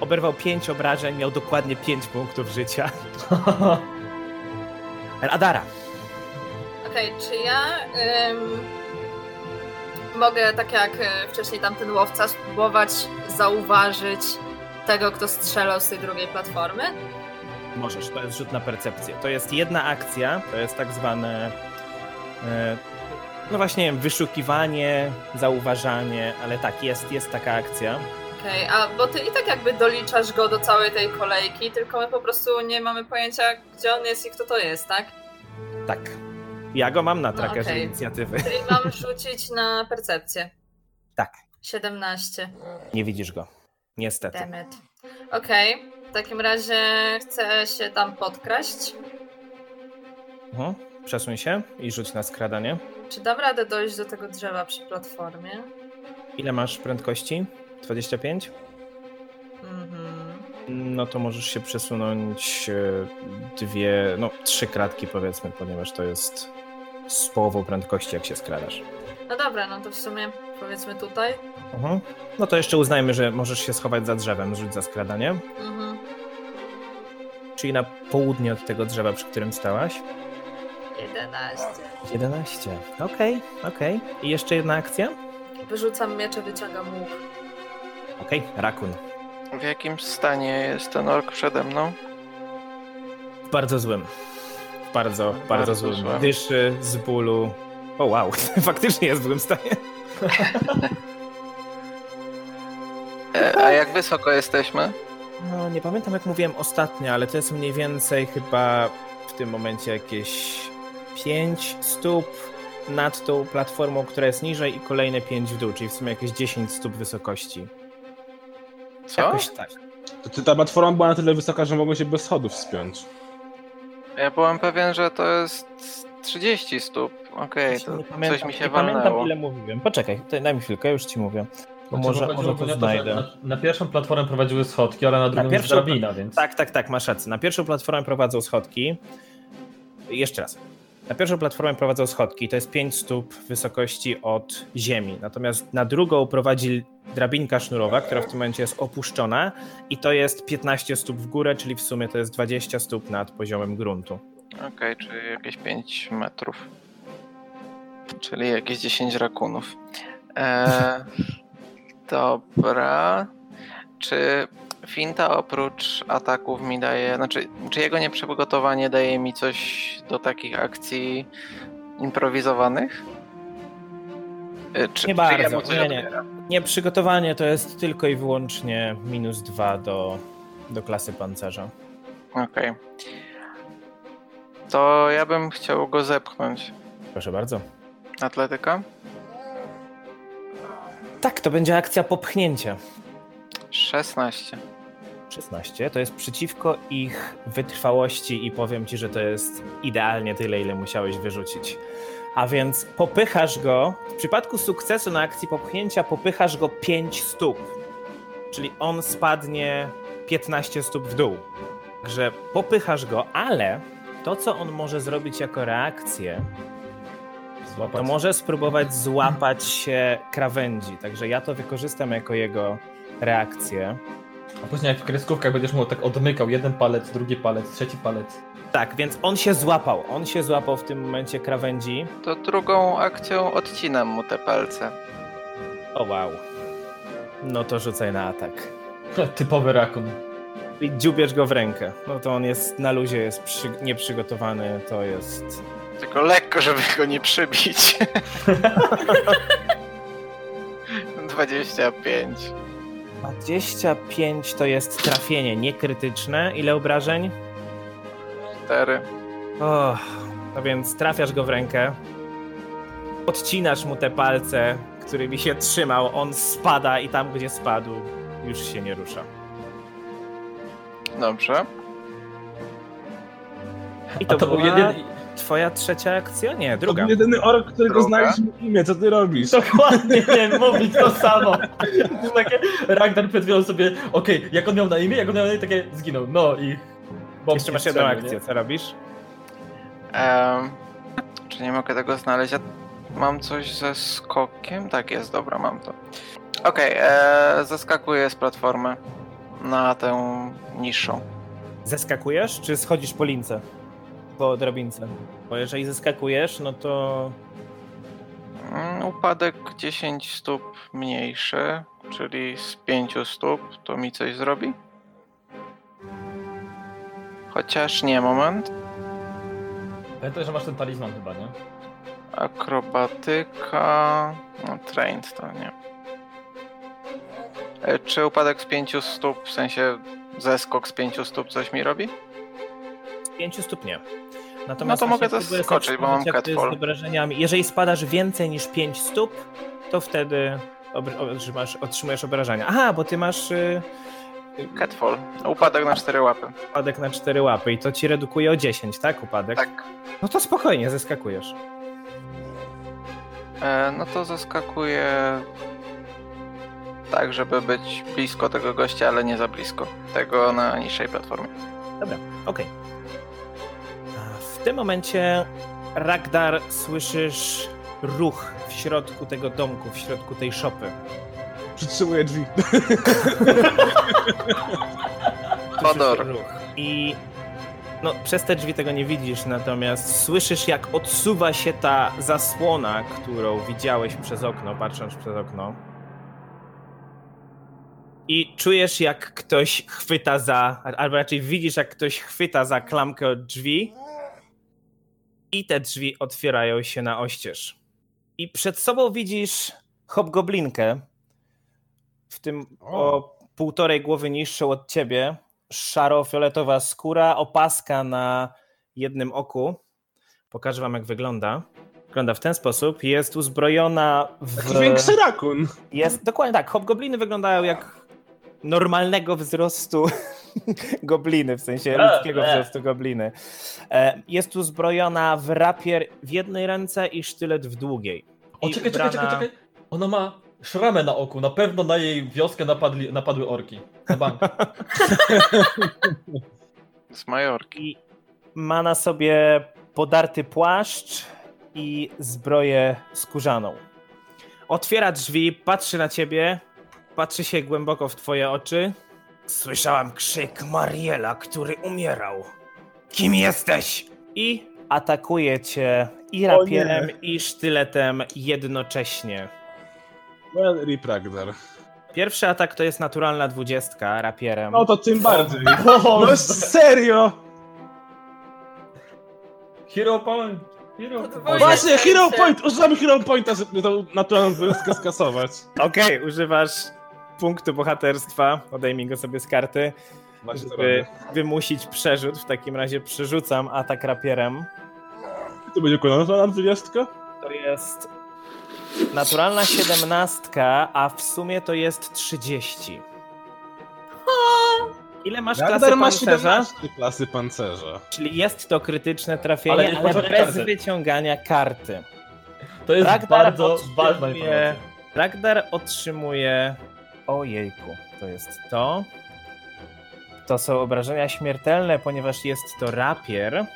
Oberwał pięć obrażeń, miał dokładnie pięć punktów życia. Adara. Okej, czy ja ym, mogę, tak jak y, wcześniej tamten łowca, spróbować zauważyć tego, kto strzelał z tej drugiej platformy? Możesz, to jest rzut na percepcję. To jest jedna akcja, to jest tak zwane. e, No właśnie, nie wiem, wyszukiwanie, zauważanie, ale tak, jest, jest taka akcja. Okej, a bo ty i tak jakby doliczasz go do całej tej kolejki, tylko my po prostu nie mamy pojęcia, gdzie on jest i kto to jest, tak? Tak. Ja go mam na trackerze okej. inicjatywy. Czyli mam rzucić na percepcję. Tak. 17. Nie widzisz go. Niestety. Demet. Okej, w takim razie chcę się tam podkraść. Mhm. Przesuń się i rzuć na skradanie. Czy dam radę dojść do tego drzewa przy platformie? Ile masz prędkości? 25? Mhm. No to możesz się przesunąć e, dwie, no trzy kratki powiedzmy, ponieważ to jest z połową prędkości, jak się skradasz. No dobra, no to w sumie powiedzmy tutaj. Mhm. No to jeszcze uznajmy, że możesz się schować za drzewem, rzuć za skradanie. Mhm. Czyli na południe od tego drzewa, przy którym stałaś. 11. 11. Okej, okej. I jeszcze jedna akcja? Wyrzucam miecze, wyciągam łuk. Okej, rakun. W jakim stanie jest ten ork przede mną? W bardzo złym. W bardzo, bardzo, Bardzo złym. złym. Dyszy z bólu. O wow, faktycznie jest w złym stanie. E, a jak wysoko jesteśmy? No, nie pamiętam jak mówiłem ostatnio, ale to jest mniej więcej chyba w tym momencie jakieś 5 stóp nad tą platformą, która jest niżej i kolejne 5 w dół, czyli w sumie jakieś 10 stóp wysokości. Co? Jakoś tak. To ty, ta platforma była na tyle wysoka, że mogłem się bez schodów spiąć. Ja byłem pewien, że to jest 30 stóp. Okej, Właśnie nie to coś pamiętam, mi nie się pamiętam walnęło. ile mówiłem. Poczekaj, to daj mi chwilkę, już ci mówię. Znaczy, może- chodziło może to głównie o znajdę. że Na, na pierwszą platformę prowadziły schodki, ale na drugą jest pierwszą- drabina, więc... Tak, tak, tak, masz rację. Na pierwszą platformę prowadzą schodki. Jeszcze raz. Na pierwszą platformę prowadzą schodki, to jest 5 stóp wysokości od ziemi. Natomiast na drugą prowadzi drabinka sznurowa, która w tym momencie jest opuszczona i to jest 15 stóp w górę, czyli w sumie to jest 20 stóp nad poziomem gruntu. Okej, czyli jakieś 5 metrów. Czyli jakieś 10 rakunów. E, dobra. Czy finta oprócz ataków mi daje. Znaczy, czy jego nieprzygotowanie daje mi coś do takich akcji improwizowanych? E, Czy, Nie czy ja bardzo, mu coś nie, nie. odbieram? Nieprzygotowanie to jest tylko i wyłącznie minus 2 do, do klasy pancerza. Okej. To ja bym chciał go zepchnąć. Proszę bardzo. Atletyka? Tak, to będzie akcja popchnięcia. 16. 16. To jest przeciwko ich wytrwałości i powiem ci, że to jest idealnie tyle, ile musiałeś wyrzucić. A więc popychasz go, w przypadku sukcesu na akcji popchnięcia, popychasz go 5 stóp. Czyli on spadnie 15 stóp w dół. Także popychasz go, ale to, co on może zrobić jako reakcję, to Złapać. może spróbować złapać się krawędzi. Także ja to wykorzystam jako jego reakcję. A później jak w kreskówkach będziesz mu tak odmykał jeden palec, drugi palec, trzeci palec. Tak, więc on się złapał. On się złapał w tym momencie krawędzi. To drugą akcją odcinam mu te palce. O wow. No to rzucaj na atak. Typowy rakun. I dziubiesz go w rękę. No to on jest na luzie, jest przy, nieprzygotowany, to jest... Tylko lekko, żeby go nie przybić. 25. 25 to jest trafienie niekrytyczne. Ile obrażeń? 4. Och, no więc trafiasz go w rękę, odcinasz mu te palce, którymi się trzymał, on spada i tam, gdzie spadł, już się nie rusza. Dobrze. I A to, to był była jeden... twoja trzecia akcja? Nie, To druga. był jedyny ork, którego Druga. znaliśmy imię, co ty robisz? Dokładnie, nie, mówić to samo. Takie, Ragnar przed chwilą sobie, okej, jak on miał na imię, jak on miał na imię, takie zginął, no i... Bob Jeszcze nie masz jedną strzelił, nie? akcję, co robisz? Em, czy nie mogę tego znaleźć? Ja mam coś ze skokiem? Tak jest, dobra, mam to. Okej, e, zeskakuję z platformy na tę niższą. Zeskakujesz, czy schodzisz po lince? Po drabince? Bo jeżeli zeskakujesz, no to Mm, Upadek 10 stóp mniejszy, czyli z 5 stóp, to mi coś zrobi? Chociaż nie, moment. Pamiętaj, że masz ten talizman chyba, nie? Akrobatyka. No, trained to nie. E, Czy upadek z 5 stóp, w sensie zeskok z 5 stóp coś mi robi? z 5 stóp nie. No to mogę właśnie próbuję zaskoczyć, sobie bo mam przypomnieć, jak to jest catfall. z obrażeniami. Jeżeli spadasz więcej niż 5 stóp, to wtedy obr- otrzymasz, otrzymujesz obrażenia. Aha, bo ty masz y, Catfall. Upadek na 4 łapy. upadek na 4 łapy i to ci redukuje o 10, tak? Upadek? Tak. No to spokojnie, zeskakujesz. E, no to zaskakuje tak, żeby być blisko tego gościa, ale nie za blisko. Tego na niższej platformie. Okej. A W tym momencie, Ragdar, słyszysz ruch w środku tego domku, w środku tej szopy. Przytrzymuję drzwi. Słyszysz Fodor. ruch. I no, przez te drzwi tego nie widzisz, natomiast słyszysz, jak odsuwa się ta zasłona, którą widziałeś przez okno, patrząc przez okno. I czujesz, jak ktoś chwyta za, albo raczej widzisz, jak ktoś chwyta za klamkę od drzwi. I te drzwi otwierają się na oścież. I przed sobą widzisz hobgoblinkę, w tym O. o półtorej głowy niższą od ciebie, szaro-fioletowa skóra, opaska na jednym oku. Pokażę wam, jak wygląda. Wygląda w ten sposób. Jest uzbrojona w... Taki większy rakun. Jest, dokładnie tak. Hobgobliny wyglądają jak normalnego wzrostu gobliny, w sensie Tak, E, ludzkiego e. wzrostu gobliny. E, Jest uzbrojona w rapier w jednej ręce i sztylet w drugiej. O, I czekaj, czekaj, czekaj, ubrana- czekaj. Ona ma szramę na oku. Na pewno na jej wioskę napadli, napadły orki. Na bank. Z Majorki. I ma na sobie podarty płaszcz i zbroję skórzaną. Otwiera drzwi, patrzy na ciebie, patrzy się głęboko w twoje oczy. Słyszałam krzyk Mariela, który umierał. Kim jesteś? i atakuje cię i O rapierem, i sztyletem jednocześnie. Well, Rip Ragnar. Pierwszy atak to jest naturalna dwudziestka rapierem. No to tym bardziej. O, No serio! Hero point! Hero No point. Podwoje. Właśnie, Hero Point! Używamy Hero Pointa, żeby tą naturalną wyjątkę skasować. Okej, używasz punktu bohaterstwa, odejmij go sobie z karty, Właśnie to żeby robię. wymusić przerzut. W takim razie przerzucam atak rapierem. To będzie kolejna dwudziestka? To jest naturalna siedemnastka, a w sumie to jest 30. Ile masz klasy Ragnar ma pancerza? 17 klasy pancerza. Czyli jest to krytyczne Ale trafienie, nie ale, potrzebne bez karty. wyciągania karty. To jest Ragnar bardzo otrzymuje- ważna informacja. Ragdar otrzymuje. Ojejku, to jest to. To są obrażenia śmiertelne, ponieważ jest to rapier.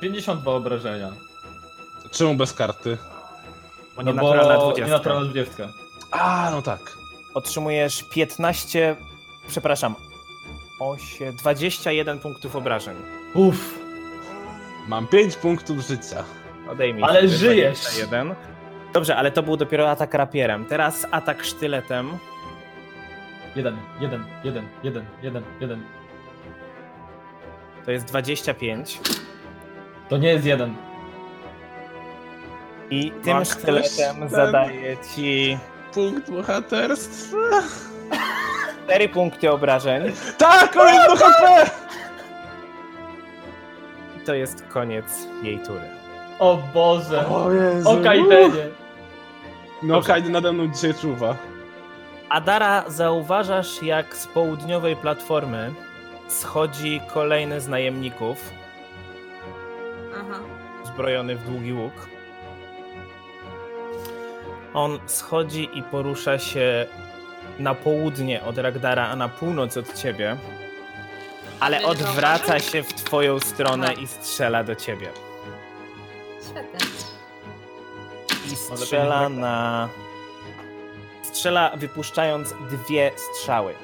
52 obrażenia. Czemu bez karty? Bo nienaturalna No bo 20. Nienaturalna 20. A, no tak. Otrzymujesz 15. Przepraszam. 8, 21 punktów obrażeń. Uff. Mam 5 punktów życia. Odejmij. Ale sobie żyjesz. 21. Dobrze, ale to był dopiero atak rapierem. Teraz atak sztyletem. Jeden, jeden, jeden, jeden, jeden, jeden. To jest 25. To nie jest jeden. I tym Max, sztyletem ktoś zadaję ci Punkt bohaterstwa. 4 punkty obrażeń. Tak, o jedno HP! I to jest koniec jej tury. O Boże. O Jezu. O Kaitenie. No Kajdy nade mną dzisiaj czuwa. Adara, zauważasz, jak z południowej platformy schodzi kolejny z najemników, Aha. zbrojony w długi łuk. On schodzi i porusza się na południe od Ragdara, a na północ od ciebie, ale Będzie odwraca zauważył? się w twoją stronę Aha. i strzela do ciebie. Świetnie. I strzela na. tak? Strzela wypuszczając dwie strzały.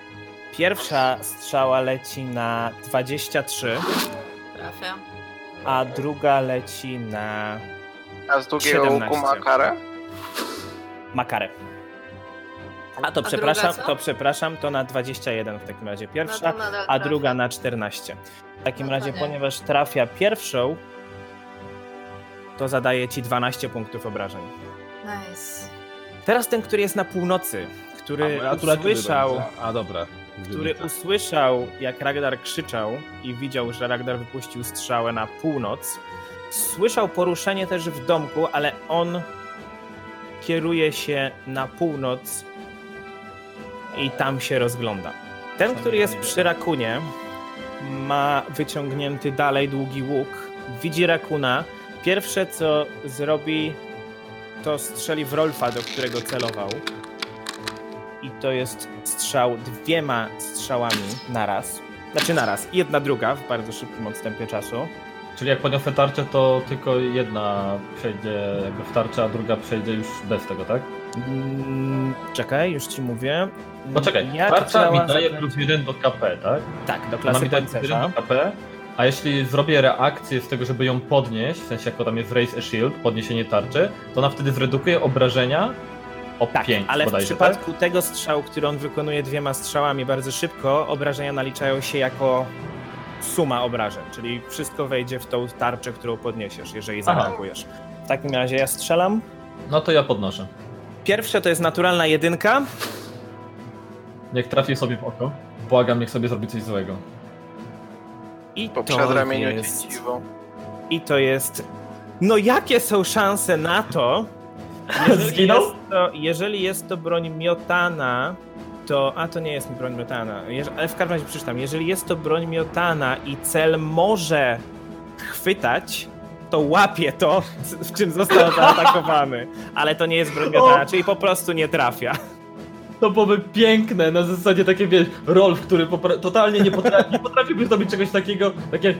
Pierwsza strzała leci na 23, Trafia. a druga leci na A z drugiego łuku ma 17. karę? makarę. A to druga przepraszam, co? to przepraszam, to na 21 w takim razie pierwsza, No nadal a trafia. druga na 14. W takim No to razie, nie. ponieważ trafia pierwszą, to zadaje ci 12 punktów obrażeń. Nice. Teraz ten, który jest na północy, który A, natura kiedy usłyszał. będzie? A, dobra. który usłyszał, jak Ragnar krzyczał i widział, że Ragnar wypuścił strzałę na północ. Słyszał poruszenie też w domku, ale on kieruje się na północ i tam się rozgląda. Ten, który jest przy rakunie, ma wyciągnięty dalej długi łuk, widzi rakuna. Pierwsze, co zrobi, to strzeli w Rolfa, do którego celował. i to jest strzał dwiema strzałami naraz. Znaczy naraz, jedna druga w bardzo szybkim odstępie czasu. Czyli jak podniosę tarczę, to tylko jedna przejdzie jakby w tarczę, a druga przejdzie już bez tego, tak? Mm, czekaj, już ci mówię. Mm, Poczekaj, Jak tarcza działa mi daje zaklęcie? plus jeden do KP, tak? Tak, do Ona klasy mi daje plus jeden pancerza. do KP, a jeśli zrobię reakcję z tego, żeby ją podnieść, w sensie jako tam jest raise a shield, podniesienie tarczy, to ona wtedy zredukuje obrażenia o Tak, 5 ale w bodajże, tak? przypadku tego strzału, który on wykonuje dwiema strzałami bardzo szybko, obrażenia naliczają się jako suma obrażeń, czyli wszystko wejdzie w tą tarczę, którą podniesiesz, jeżeli Aha. zaatakujesz. W takim razie ja strzelam. No to ja podnoszę. Pierwsze to jest naturalna jedynka. Niech trafi sobie w oko. Błagam, niech sobie zrobi coś złego. I Po to, przedramieniu jest, cię dziwą. I to jest. No jakie są szanse na to? Jeżeli Zginął? jest to, jeżeli jest to broń miotana, to. A to nie jest broń miotana. Jeż- Ale w każdym razie przeczytam. Jeżeli jest to broń miotana i cel może chwytać, to łapie to, z- w czym został zaatakowany. Ale to nie jest broń miotana, czyli po prostu nie trafia. To byłoby piękne, na zasadzie takie, wiesz, Rolf, który popra- totalnie nie potrafi, nie potrafiłby zrobić czegoś takiego, takie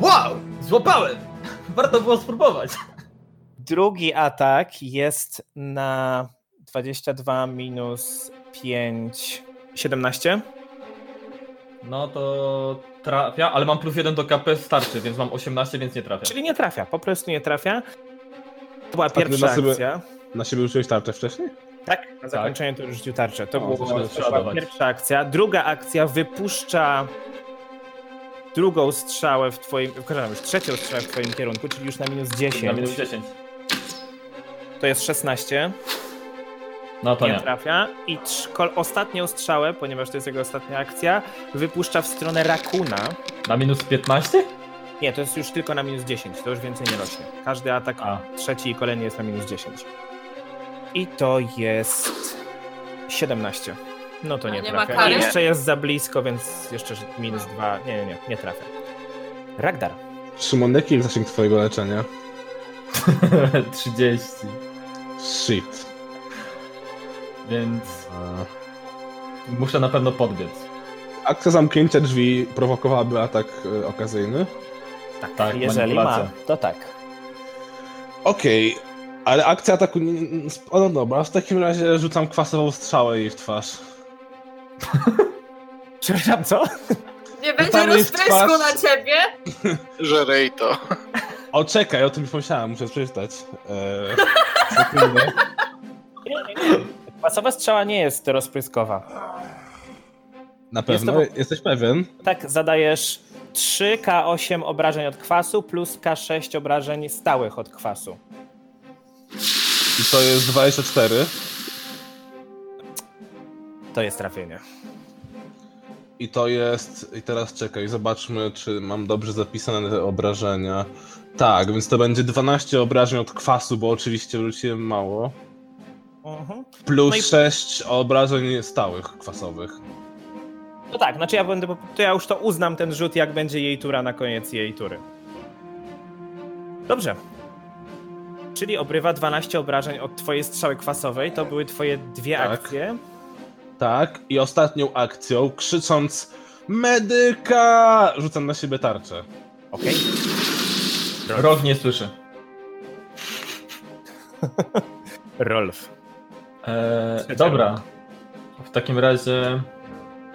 wow, złapałem, warto było spróbować. Drugi atak jest na 22 minus 5. 17? No to trafia, ale mam plus jeden do KP starczy, więc mam 18, więc nie trafia. Tak. Czyli nie trafia, po prostu nie trafia. To była ty pierwsza na sobie- akcja. Na siebie użyłeś tarczę wcześniej? Tak, na zakończenie to już rzucił tarczę. To, O, było, to to, trzeba była dodawać. pierwsza akcja. Druga akcja wypuszcza drugą strzałę w twoim... Przepraszam, już trzecią strzałę w twoim kierunku, czyli już na minus 10. na minus 10. To jest 16. No to nie nie. trafia. I trz- kol- ostatnią strzałę, ponieważ to jest jego ostatnia akcja, wypuszcza w stronę rakuna. Na minus 15? Nie, to jest już tylko na minus 10, to już więcej nie rośnie. Każdy atak A, trzeci i kolejny jest na minus 10. I to jest 17. No to A nie, nie ma trafia. kary? I jeszcze jest za blisko, więc jeszcze minus 2. Nie, nie, nie, nie trafia. Ragdar. Szymon, jaki jest zasięg twojego leczenia? 30. Shit. Więc muszę na pewno podbiec. Akcja zamknięcia drzwi prowokowałaby atak e, okazyjny. Tak, Jeżeli ma, manipulacja. to tak. Okej, ale akcja ataku... nie- nie- nie- sp- No dobra, w takim razie rzucam kwasową strzałę jej w twarz. Przepraszam, co? Nie tam będzie jest rozprysku twarz. na ciebie? Żerej to. O, czekaj, o tym już myślałem, muszę przeczytać. Eee, sekundę. Pasowa strzała nie jest rozpryskowa. Na Jest pewno, to- jesteś pewien? Tak, zadajesz 3K8 obrażeń od kwasu plus K6 obrażeń stałych od kwasu. I to jest 24. To jest trafienie. I to jest. I teraz czekaj, zobaczmy, czy mam dobrze zapisane te obrażenia. Tak, więc to będzie 12 obrażeń od kwasu, bo oczywiście wróciłem mało. Mhm. Plus No i- 6 obrażeń stałych, kwasowych. No tak, znaczy ja będę, po- to ja już to uznam ten rzut, jak będzie jej tura na koniec jej tury. Dobrze. Czyli obrywa 12 obrażeń od twojej strzały kwasowej, to były twoje dwie Tak. akcje. Tak, i ostatnią akcją, krzycząc Medyka! Rzucam na siebie tarczę. Okej. Rolf nie słyszy. Rolf. Eee, dobra. W takim razie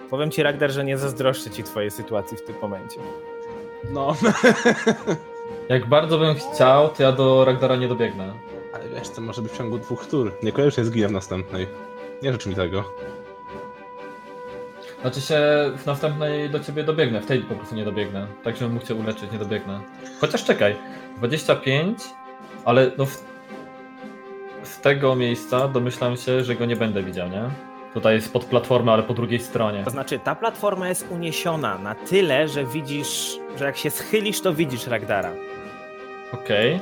Powiem ci, Ragdar, że nie zazdroszczę ci twojej sytuacji w tym momencie. No, Jak bardzo bym chciał, to ja do Ragdara nie dobiegnę. ale wiesz, to może być w ciągu dwóch tur. Niekoniecznie zginę w następnej. Nie życz mi tego. Znaczy się w następnej do ciebie dobiegnę, w tej po prostu nie dobiegnę. Tak, żebym mógł cię uleczyć, nie dobiegnę. Chociaż czekaj, 25, ale no w... z tego miejsca domyślam się, że go nie będę widział, nie? Tutaj jest pod platformą, ale po drugiej stronie. To znaczy, ta platforma jest uniesiona na tyle, że widzisz, że jak się schylisz, to widzisz Ragdara. Okej.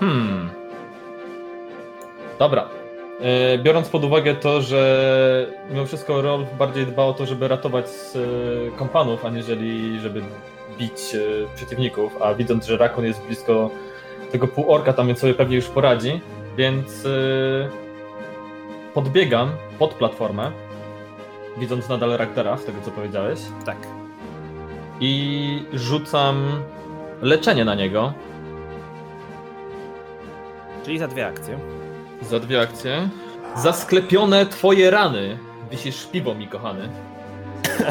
Hmm. Dobra. E, Biorąc pod uwagę to, że mimo wszystko Rolf bardziej dba o to, żeby ratować e, kompanów, aniżeli żeby bić e, przeciwników, a widząc, że Rakon jest blisko tego półorka tam, więc sobie pewnie już poradzi, więc e, Podbiegam pod platformę, widząc nadal reaktora, z tego co powiedziałeś, Tak. i rzucam leczenie na niego Czyli za dwie akcje. za dwie akcje. Zasklepione twoje rany. Wisisz piwo, mi kochany.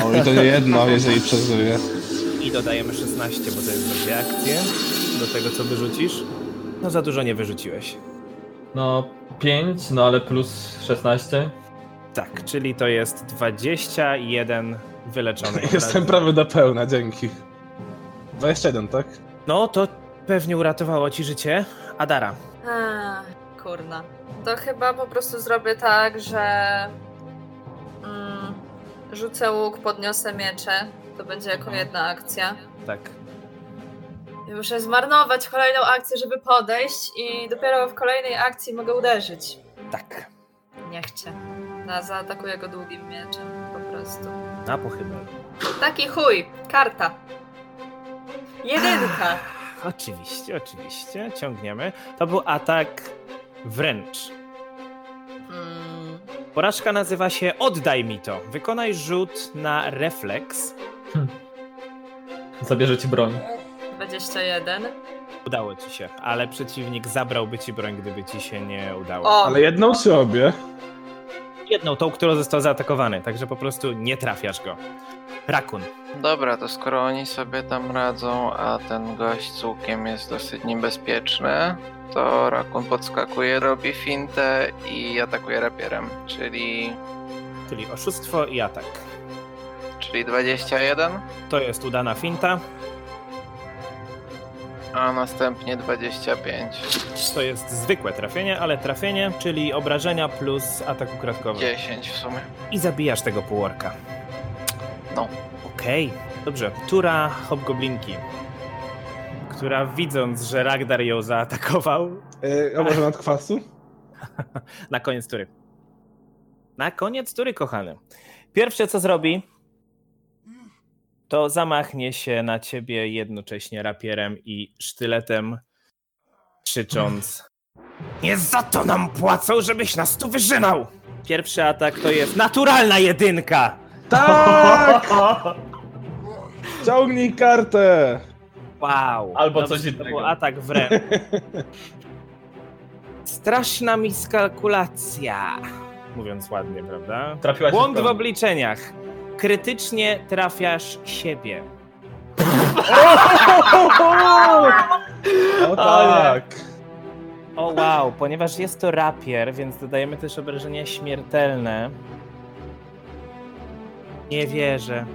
O, i to nie jedno, jeżeli przeżyję. I dodajemy 16, bo to jest za dwie akcje. Do tego, co wyrzucisz. No za dużo nie wyrzuciłeś. No, 5, no ale plus 16. Tak, czyli to jest 21 wyleczonych. od Jestem razu. prawie do pełna, dzięki. 21, tak? No to pewnie uratowało ci życie. Adara. Ech, Kurna. To chyba po prostu zrobię tak, że mm, rzucę łuk, podniosę miecze. To będzie jako jedna akcja. Tak. Ja Muszę zmarnować kolejną akcję, żeby podejść i dopiero w kolejnej akcji mogę uderzyć. Tak. Nie chcę. No, zaatakuję go długim mieczem po prostu. Na pochybę. Taki chuj, karta. Jedynka. Oczywiście, oczywiście. Ciągniemy. To był atak wręcz. Mm, Porażka nazywa się Oddaj mi to. Wykonaj rzut na refleks. Zabierze ci broń. 21. Udało ci się, ale przeciwnik zabrałby ci broń, gdyby ci się nie udało. O, Ale jedną czy obie? Jedną, tą, którą został zaatakowany, także po prostu nie trafiasz go. Rakun. Dobra, to skoro oni sobie tam radzą, a ten gość z łukiem jest dosyć niebezpieczny, to Rakun podskakuje, robi fintę i atakuje rapierem, czyli, Czyli oszustwo i atak. czyli 21, To jest udana finta, a następnie 25. to jest zwykłe trafienie, ale trafienie, czyli obrażenia plus atak ukradkowy. 10 w sumie. I zabijasz tego półorka. No. Okej, dobrze. Tura hobgoblinki, która widząc, że Ragdar ją zaatakował, Yy, a może nad kwasu? na koniec tury. Na koniec tury, kochany. Pierwsze, co zrobi, to zamachnie się na ciebie jednocześnie rapierem i sztyletem, krzycząc Nie za to nam płacą, żebyś nas tu wyżynał! Pierwszy atak to jest naturalna jedynka! Tak! Ciągnij kartę! Wow. Albo Dobrze, coś To innego. był atak wręcz. Straszna miskalkulacja. Mówiąc ładnie, prawda? Trafiłaś Błąd w w pełni. obliczeniach. Krytycznie trafiasz siebie. O tak! O wow, ponieważ jest to rapier, więc dodajemy też obrażenia śmiertelne. Nie wierzę.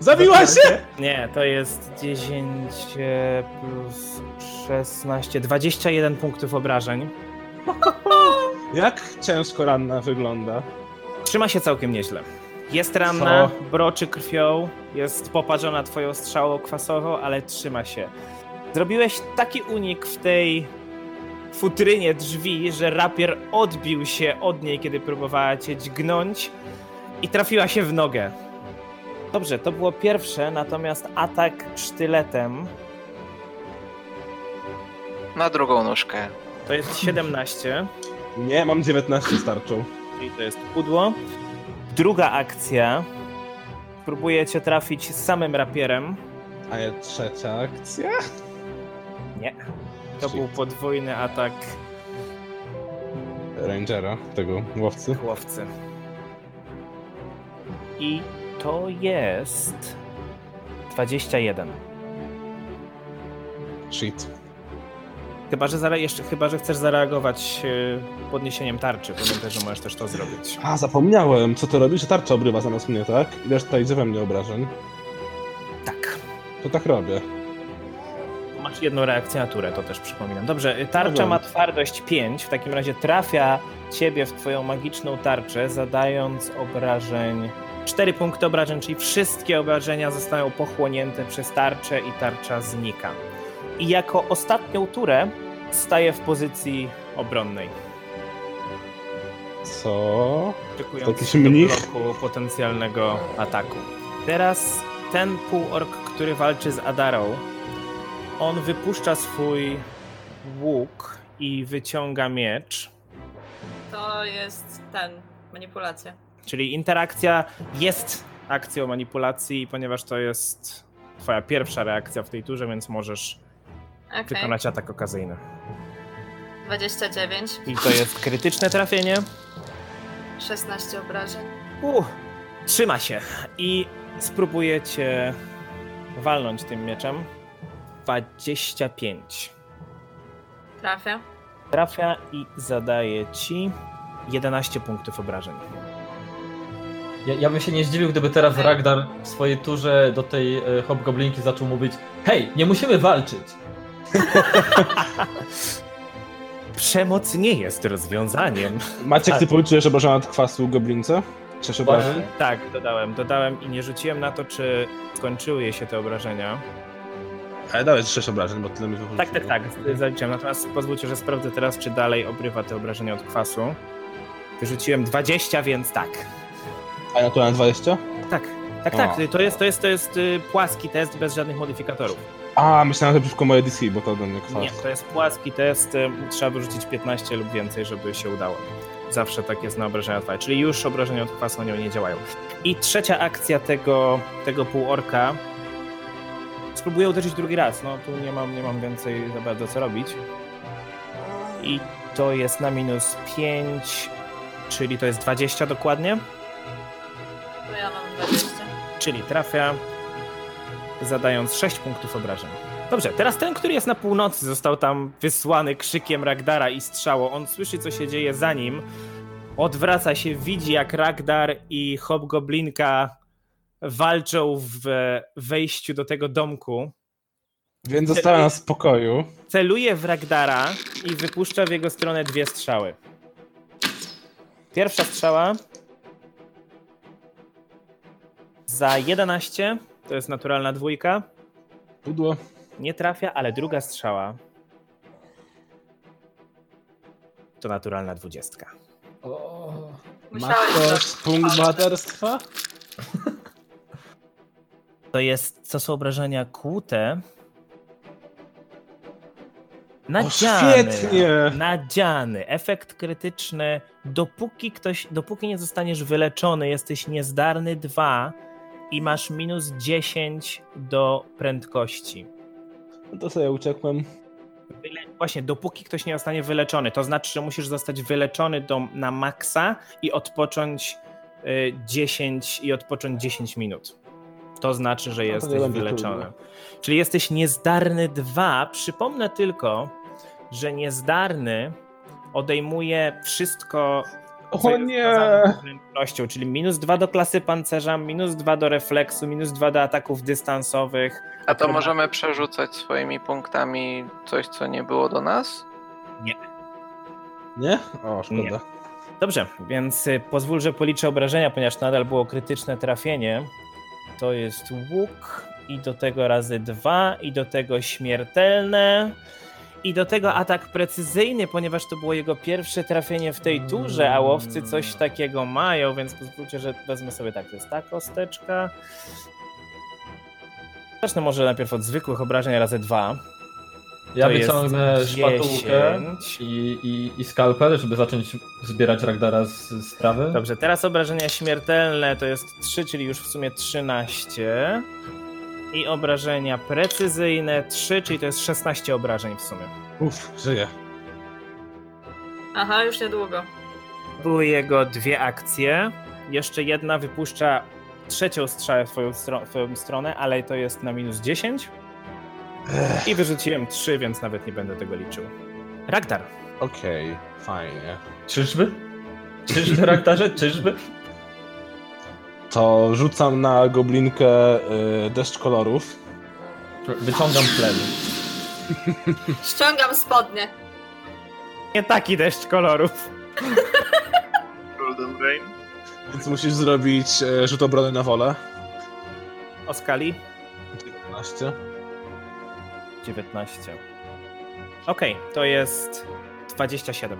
Zabiła się! Nie, to jest 10 e, plus 16, 21 punktów obrażeń. Jak ciężko ranna wygląda. Trzyma się całkiem nieźle. Jest ranna, Co? broczy krwią, jest poparzona twoją strzałą kwasową, ale trzyma się. Zrobiłeś taki unik w tej futrynie drzwi, że rapier odbił się od niej, kiedy próbowała cię dźgnąć i trafiła się w nogę. Dobrze, to było pierwsze, natomiast atak sztyletem Na drugą nóżkę. to jest 17. Nie, mam 19 starczą. Czyli to jest pudło. Druga akcja. Próbuję cię trafić z samym rapierem. A ja trzecia akcja? Nie. To był podwójny atak Rangera, tego łowcy. łowcy. I to jest 21. Shit. Chyba, że, zare- jeszcze, chyba, że chcesz zareagować e, podniesieniem tarczy. Pamiętaj, że możesz też to zrobić. A, zapomniałem, co to robi, że tarcza obrywa zamiast mnie, tak? I reszta idzie we mnie obrażeń. Tak. To tak robię. Masz jedną reakcję na turę, to też przypominam. Dobrze, y, tarcza Dobra. ma twardość 5, w takim razie trafia ciebie w twoją magiczną tarczę, zadając obrażeń 4 punkty obrażeń, czyli wszystkie obrażenia zostają pochłonięte przez tarczę i tarcza znika. I jako ostatnią turę staje w pozycji obronnej, Co? oczekując Jakiś do mnich? bloku potencjalnego ataku. Teraz ten półork, który walczy z Adarą, on wypuszcza swój łuk i wyciąga miecz. to to jest ten, manipulacja. Czyli interakcja jest akcją manipulacji, ponieważ to jest twoja pierwsza reakcja w tej turze, więc możesz Okej, wykonać atak okazyjny. 29, I to jest krytyczne trafienie. 16 obrażeń. Uh, trzyma się i spróbuje cię walnąć tym mieczem. 25. Trafia. Trafia i zadaje ci 11 punktów obrażeń. Ja, ja bym się nie zdziwił, gdyby teraz Ragnar w swojej turze do tej e, hobgoblinki zaczął mówić Hej, nie musimy walczyć! Przemoc nie jest rozwiązaniem. Maciek, Tak. ty policzyłeś obrażenia od kwasu goblince? Czyż obrażeń? Tak, dodałem, dodałem i nie rzuciłem na to, czy skończyły się te obrażenia. Ale dałeś 6 obrażeń, bo tyle mi wychodzi. Tak, tak, tak, zaliczyłem. Natomiast pozwólcie, że sprawdzę teraz, czy dalej obrywa te obrażenia od kwasu. Wyrzuciłem 20, więc tak. A ja tu na 20? Tak, tak, tak. To jest, to jest, to jest y, płaski test bez żadnych modyfikatorów. A, myślałem, że przeciwko moje DC, bo to ode mnie kwas. Nie, to jest płaski test. y, Trzeba wyrzucić 15 lub więcej, żeby się udało. Zawsze tak jest na obrażenia twoje. Czyli już obrażenia od kwasu na nią nie działają. I trzecia akcja tego, tego półorka. Spróbuję uderzyć drugi raz. No tu nie mam, nie mam więcej za bardzo co robić. I to jest na minus 5, czyli to jest 20 dokładnie. To ja mam 20. czyli trafia, zadając 6 punktów obrażeń. Dobrze, teraz ten, który jest na północy, został tam wysłany krzykiem Ragdara i strzało. On słyszy, co się dzieje za nim. Odwraca się, widzi, jak Ragdar i Hobgoblinka walczą w e, wejściu do tego domku. Więc została nas w spokoju. Celuje w Ragdara i wypuszcza w jego stronę dwie strzały. Pierwsza strzała za 11, to jest naturalna dwójka. Pudło. Nie trafia, ale druga strzała to naturalna dwudziestka. O, Ma Musiałeś to. ktoś punkt bohaterstwa? To jest, co są obrażenia kłute. Tak, Nadziany. świetnie! Nadziany. Efekt krytyczny. Dopóki ktoś, dopóki nie zostaniesz wyleczony, jesteś niezdarny 2 i masz minus 10 do prędkości. No to sobie uciekłem. Wyle... Właśnie, dopóki ktoś nie zostanie wyleczony, to znaczy, że musisz zostać wyleczony do, na maksa i odpocząć y, 10 i odpocząć 10 minut. To znaczy, że No, to jesteś nie będzie wyleczony. trudno. Czyli jesteś niezdarny 2. Przypomnę tylko, że niezdarny odejmuje wszystko. co O jest nie! związane z Zręcznością, czyli minus 2 do klasy pancerza, minus 2 do refleksu, minus 2 do ataków dystansowych. A to możemy przerzucać swoimi punktami coś, co nie było do nas? Nie? O, szkoda. Dobrze, więc y, pozwól, że policzę obrażenia, ponieważ nadal było krytyczne trafienie. To jest łuk i do tego razy dwa i do tego śmiertelne i do tego atak precyzyjny, ponieważ to było jego pierwsze trafienie w tej turze, a łowcy coś takiego mają, więc pozwólcie, że wezmę sobie tak, to jest ta kosteczka. Zacznę może najpierw od zwykłych obrażeń razy dwa. ja To jest wyciągnę szpatułkę 10. i, i, i skalpel, żeby zacząć zbierać Ragdara z, z trawy. Dobrze, teraz obrażenia śmiertelne to jest 3, czyli już w sumie 13. I obrażenia precyzyjne 3, czyli to jest 16 obrażeń w sumie. Uff, żyję. Aha, już niedługo. Były jego dwie akcje. Jeszcze jedna wypuszcza trzecią strzałę w twoją, stro- w twoją stronę, ale to jest na minus 10. I wyrzuciłem 3, więc nawet nie będę tego liczył. Ragdar. Okej, fajnie. Czyżby? Czyżby, Ragdarze? Czyżby? To rzucam na goblinkę y, deszcz kolorów. Wyciągam plen. Ściągam spodnie. Nie taki deszcz kolorów. Golden Rain? Więc musisz zrobić y, rzut obrony na wolę. O skali 19. 19. Okej, to jest 27.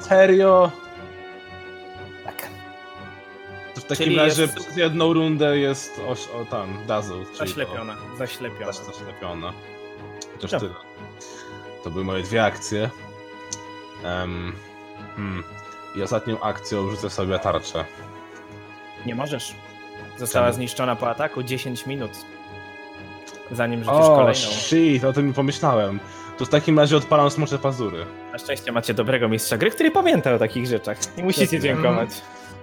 Serio? Tak. To w takim Czyli razie jest- przez jedną rundę jest oś, o tam, dazzle. czyli Zaślepiona, No. To, zaślepiona. też zaślepiona. Chociaż Dobra. tyle. To były moje dwie akcje. Em, hmm. I ostatnią akcją rzucę sobie tarczę. Nie możesz. Została Czemu? zniszczona po ataku 10 minut. Zanim rzucisz O, kolejną. shit, o tym nie pomyślałem. To w takim razie odpalam smocze pazury. Na szczęście macie dobrego mistrza gry, który pamięta o takich rzeczach. Nie musicie Świetnie. dziękować.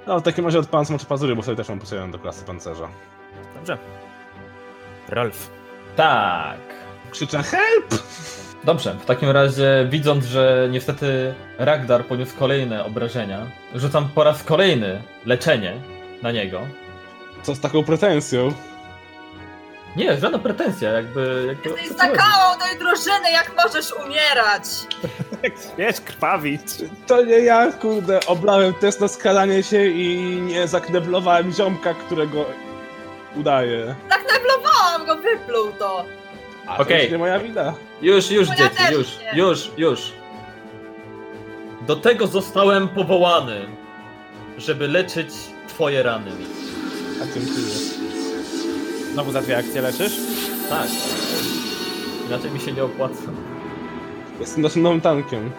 No, w takim razie odpalam smocze pazury, bo sobie też mam potrzebę do klasy pancerza. Mhm. Dobrze. Rolf. Tak. Krzyczę HELP! Dobrze, w takim razie widząc, że niestety Ragdar poniósł kolejne obrażenia, rzucam po raz kolejny leczenie na niego. Co z taką pretensją? Nie, żadna pretensja, jakby... jakby Jesteś zakałą tej drużyny, jak możesz umierać! Wiesz, krwawić. To nie ja, kurde, oblałem test na skalanie się i nie zakneblowałem ziomka, którego udaje. Tak neblowałam go, wypluł to! A to Okej. już nie moja wina. Już, już, No ja dzieci, też już, nie. już, już. Do tego zostałem powołany, żeby leczyć twoje rany. A tym tyle. Znowu za dwie akcje leczysz? Tak. Inaczej mi się nie opłaca. Jestem naszym tankiem.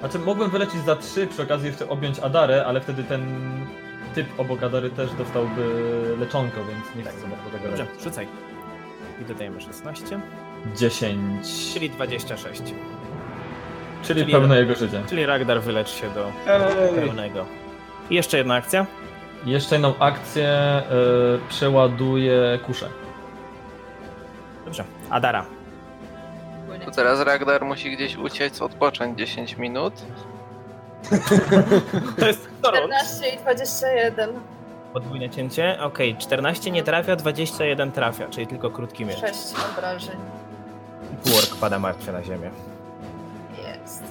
Znaczy, mogłem wyleczyć za trzy, przy okazji jeszcze objąć Adarę, ale wtedy ten typ obok Adary też dostałby leczonko, więc nie chcę bardzo tego Dobrze, robić. rzucaj. I dodajemy 16, 10. czyli 26. Czyli czyli- pełne jego życie. Czyli Ragdar wylecz się do Ej, pełnego. I jeszcze jedna akcja. Jeszcze jedną akcję y, przeładuję kuszę. Dobrze. Adara. Płynie. To teraz Ragnar musi gdzieś uciec, odpocząć 10 minut. To jest Dorot. 14 i 21. Podwójne cięcie. Okej, 14 nie trafia, 21 trafia, czyli tylko krótki miecz. 6 obrażeń. Work pada martwy na ziemię. Jest.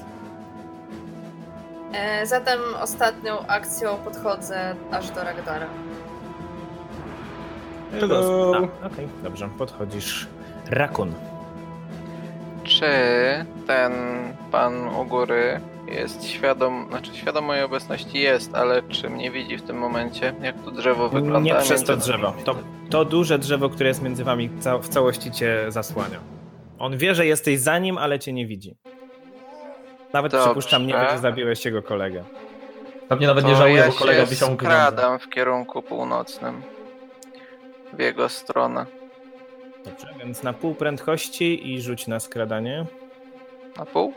E, zatem ostatnią akcją podchodzę aż do Ragdara. Hello. A, Okej, dobrze, podchodzisz. Rakun. Czy ten pan u góry jest świadom, znaczy świadom mojej obecności jest, ale czy mnie widzi w tym momencie? Jak to drzewo wygląda? Nie przez między to nami? drzewo. To, to duże drzewo, które jest między wami, ca- w całości cię zasłania. On wie, że jesteś za nim, ale cię nie widzi. Nawet Dobrze. przypuszczam, nie wie, że zabiłeś jego kolegę. Pewnie nawet nie To żałuję, ja bo kolega się wisiał mu pieniądze. skradam w kierunku północnym. W jego stronę. Dobrze, więc na pół prędkości i rzuć na skradanie. Na pół?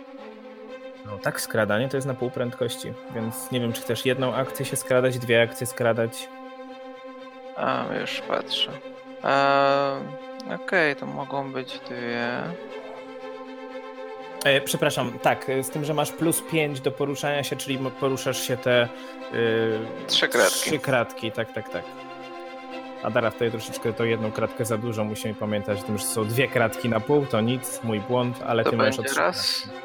No tak, skradanie to jest na pół prędkości, więc nie wiem, czy chcesz jedną akcję się skradać, dwie akcje skradać. A, już patrzę. Eee, Okej, to mogą być dwie. E, przepraszam, tak, e, z tym, że masz plus 5 do poruszania się, czyli mo- poruszasz się te y, Trzy kratki. Trzy kratki, tak, tak, tak. Adara wtedy troszeczkę to jedną kratkę za dużo, musimy pamiętać o tym, że są dwie kratki na pół, to nic, mój błąd, ale To ty masz będzie od trzy raz. kratki.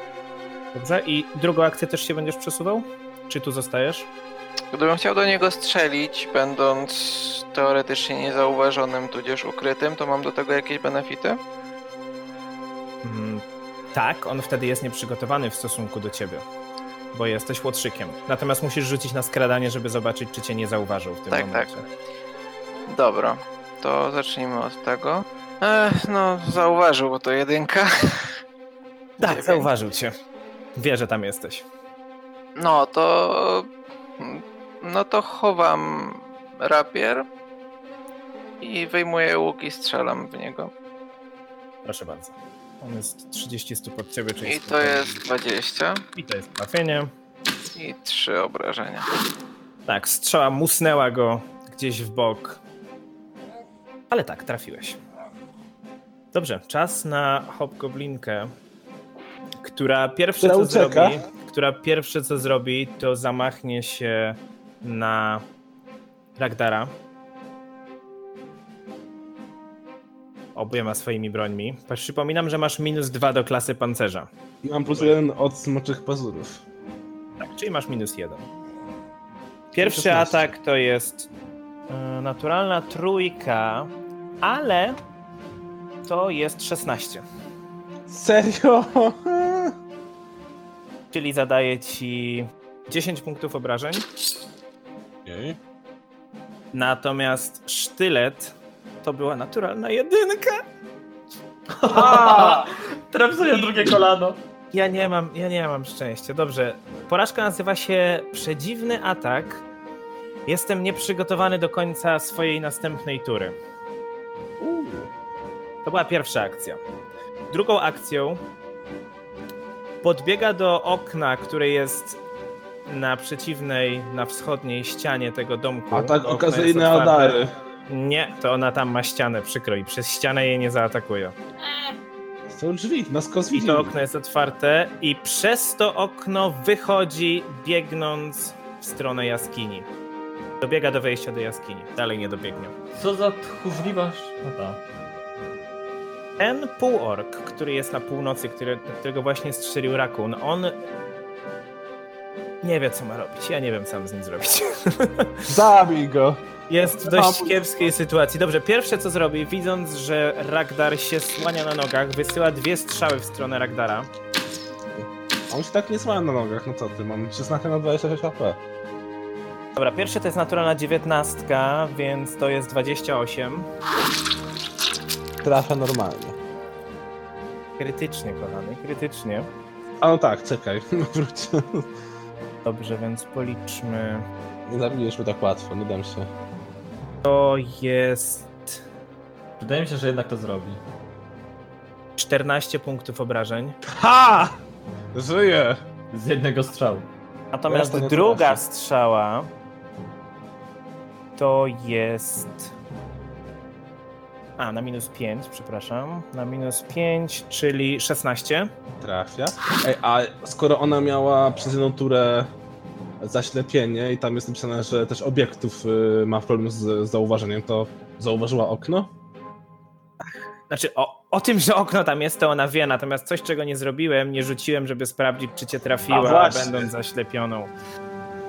Dobrze, i drugą akcję też się będziesz przesuwał? Czy tu zostajesz? Gdybym chciał do niego strzelić, będąc teoretycznie niezauważonym, tudzież ukrytym, to mam do tego jakieś benefity? Mm, tak, on wtedy jest nieprzygotowany w stosunku do ciebie, bo jesteś łotrzykiem. Natomiast musisz rzucić na skradanie, żeby zobaczyć, czy cię nie zauważył w tym Tak, momencie. tak. Dobra, to zacznijmy od tego. Ech, no, zauważył, bo to jedynka. Tak, Dziewięć. zauważył cię. Wie, że tam jesteś. No, to... No to chowam rapier i wyjmuję łuk i strzelam w niego. Proszę bardzo. On jest 30 stóp od ciebie, czyli I to jest 20 I to jest trafienie. i 3 obrażenia. Tak, strzała musnęła go gdzieś w bok. Ale tak, trafiłeś. Dobrze, czas na hobgoblinkę, która pierwsze Która co ucieka. zrobi, która pierwsze co zrobi, to zamachnie się na Ragdara. Obiema swoimi brońmi. Przypominam, że masz minus dwa do klasy pancerza. Mam plus jeden od smoczych pazurów. Tak, czyli masz minus jeden. Pierwszy 16. atak to jest y, naturalna trójka, ale to jest 16. Serio? Czyli zadaje ci 10 punktów obrażeń. Okej. Natomiast sztylet to była naturalna jedynka. Trapsuję drugie kolano. Ja nie mam, ja nie mam szczęścia. Dobrze. Porażka nazywa się Przedziwny atak. Jestem nieprzygotowany do końca swojej następnej tury. To była pierwsza akcja. Drugą akcją podbiega do okna, które jest na przeciwnej, na wschodniej ścianie tego domku. A tak Okno jest okazyjne otwarte. adary. Nie, to ona tam ma ścianę, przykro i przez ścianę jej nie zaatakuje. Są drzwi, nas I kozwili. to okno jest otwarte i przez to okno wychodzi, biegnąc w stronę jaskini. Dobiega do wejścia do jaskini. Dalej nie dobiegnie. Co za No tak. tchórzliwa szata. Ten półork, który jest na północy, który, do którego właśnie strzelił rakun, on nie wie, co ma robić. Ja nie wiem, co mam z nim zrobić. Zabij go! Jest w dość kiepskiej sytuacji. Dobrze, pierwsze co zrobi, widząc, że Ragdar się słania na nogach, wysyła dwie strzały w stronę Ragdara. A On się tak nie zła na nogach, no co ty, mam 16 na 26 HP. Dobra, pierwsze to jest naturalna dziewiętnastka, więc to jest 28. Trafia normalnie. Krytycznie, kochany, krytycznie. A no tak, czekaj, wróćcie. Dobrze, więc policzmy. Nie zabijesz mnie tak łatwo, nie dam się. To jest Wydaje mi się, że jednak to zrobi. 14 punktów obrażeń. HA! Żyję! Z jednego strzału. Natomiast Teraz to nie druga trafię. strzała to jest. A, na minus 5, przepraszam. Na minus 5, czyli 16. Trafia. Ej, a skoro ona miała przez jedną turę zaślepienie i tam jest napisane, że też obiektów y, ma problem z zauważeniem, to zauważyła okno? Znaczy, o, o tym, że okno tam jest, to ona wie, natomiast coś, czego nie zrobiłem, nie rzuciłem, żeby sprawdzić, czy cię A trafiła, właśnie. będąc zaślepioną.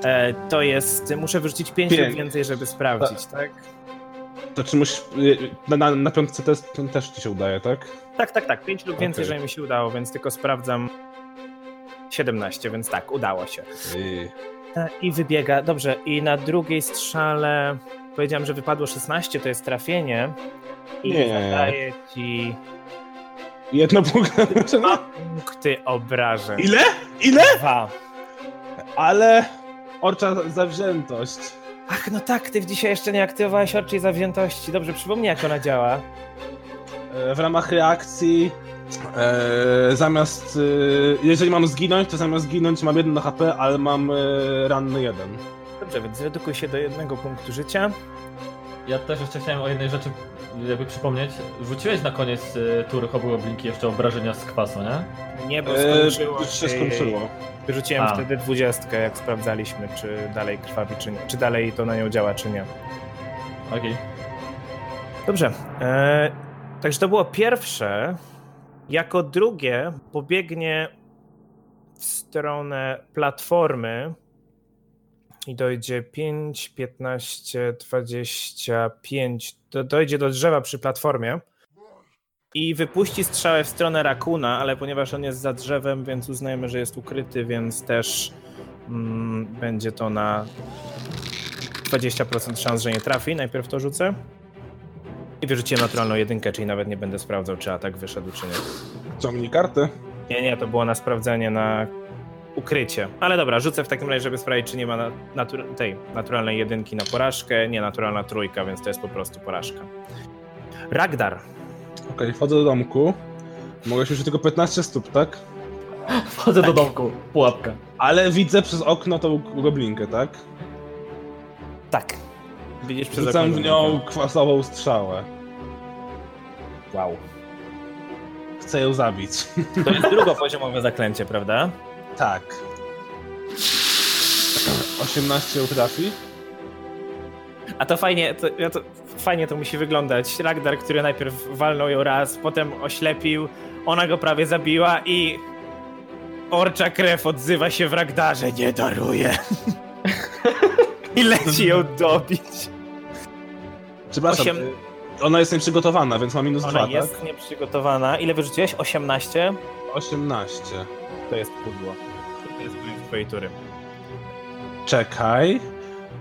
E, to jest. Muszę wyrzucić 5 lub Pięć. więcej, żeby sprawdzić, tak? To czy musisz... y, Na, na, na piątce też, też ci się udaje, tak? Tak, tak, tak. 5 lub więcej, Okej. że mi się udało, więc tylko sprawdzam. 17, więc tak, udało się. I... E, I wybiega. Dobrze, i na drugiej strzale powiedziałem, że wypadło 16, to jest trafienie. I Nie. zadaje ci Jedno punkt. punkty obrażeń. Ile? Ile? Dwa. Ale... Orcza zawziętość. Ach, no tak, ty dzisiaj jeszcze nie aktywowałeś orczej zawziętości. Dobrze, przypomnij, jak ona działa. E, W ramach reakcji e, zamiast... e, Jeżeli mam zginąć, to zamiast zginąć mam 1 HP, ale mam e, ranny jeden. Dobrze, więc zredukuj się do jednego punktu życia. Ja też jeszcze chciałem o jednej rzeczy jakby przypomnieć. Rzuciłeś na koniec y, tury Hobgoblinki jeszcze obrażenia z kwasu, nie? Nie, bo E, skończyło już się skończyło. Wyrzuciłem A. wtedy dwudziestkę, jak sprawdzaliśmy, czy dalej krwawi, czy nie. Czy dalej to na nią działa, czy nie. Okej. Dobrze. E, także to było pierwsze. Jako drugie pobiegnie w stronę platformy i dojdzie 5, 15, 25. Do, dojdzie do drzewa przy platformie i wypuści strzałę w stronę rakuna, ale ponieważ on jest za drzewem, więc uznajemy, że jest ukryty, więc też mm, będzie to na 20% szans, że nie trafi. Najpierw to rzucę. I wyrzuciłem naturalną jedynkę, czyli nawet nie będę sprawdzał, czy atak wyszedł, czy nie. Ciągnij karty. Nie, nie, to było na sprawdzenie, na ukrycie. Ale dobra, rzucę w takim razie, żeby sprawdzić, czy nie ma na- natur- tej naturalnej jedynki na porażkę. Nie, naturalna trójka, więc to jest po prostu porażka. Ragdar. Okej, wchodzę do domku. Mogę się już tylko 15 stóp, tak? Wchodzę do domku. Pułapka. Ale widzę przez okno tą goblinkę, tak? Tak. Widzisz przez Rzucam okno w nią goblinkę. kwasową strzałę. Wow. Chcę ją zabić. To jest drugopoziomowe zaklęcie, prawda? tak. 18 ją trafi. A to fajnie, to, ja to, fajnie to musi wyglądać. Ragdar, który najpierw walnął ją raz, potem oślepił, ona go prawie zabiła i orcza krew odzywa się w Ragdarze. Nie daruję. I leci ją dobić. Przepraszam. Osiem- y, Ona jest nieprzygotowana, więc ma minus Ona 2, jest tak? nieprzygotowana. Ile wyrzuciłeś? 18? 18. To jest pudło. To jest koniec twojej tury. Czekaj.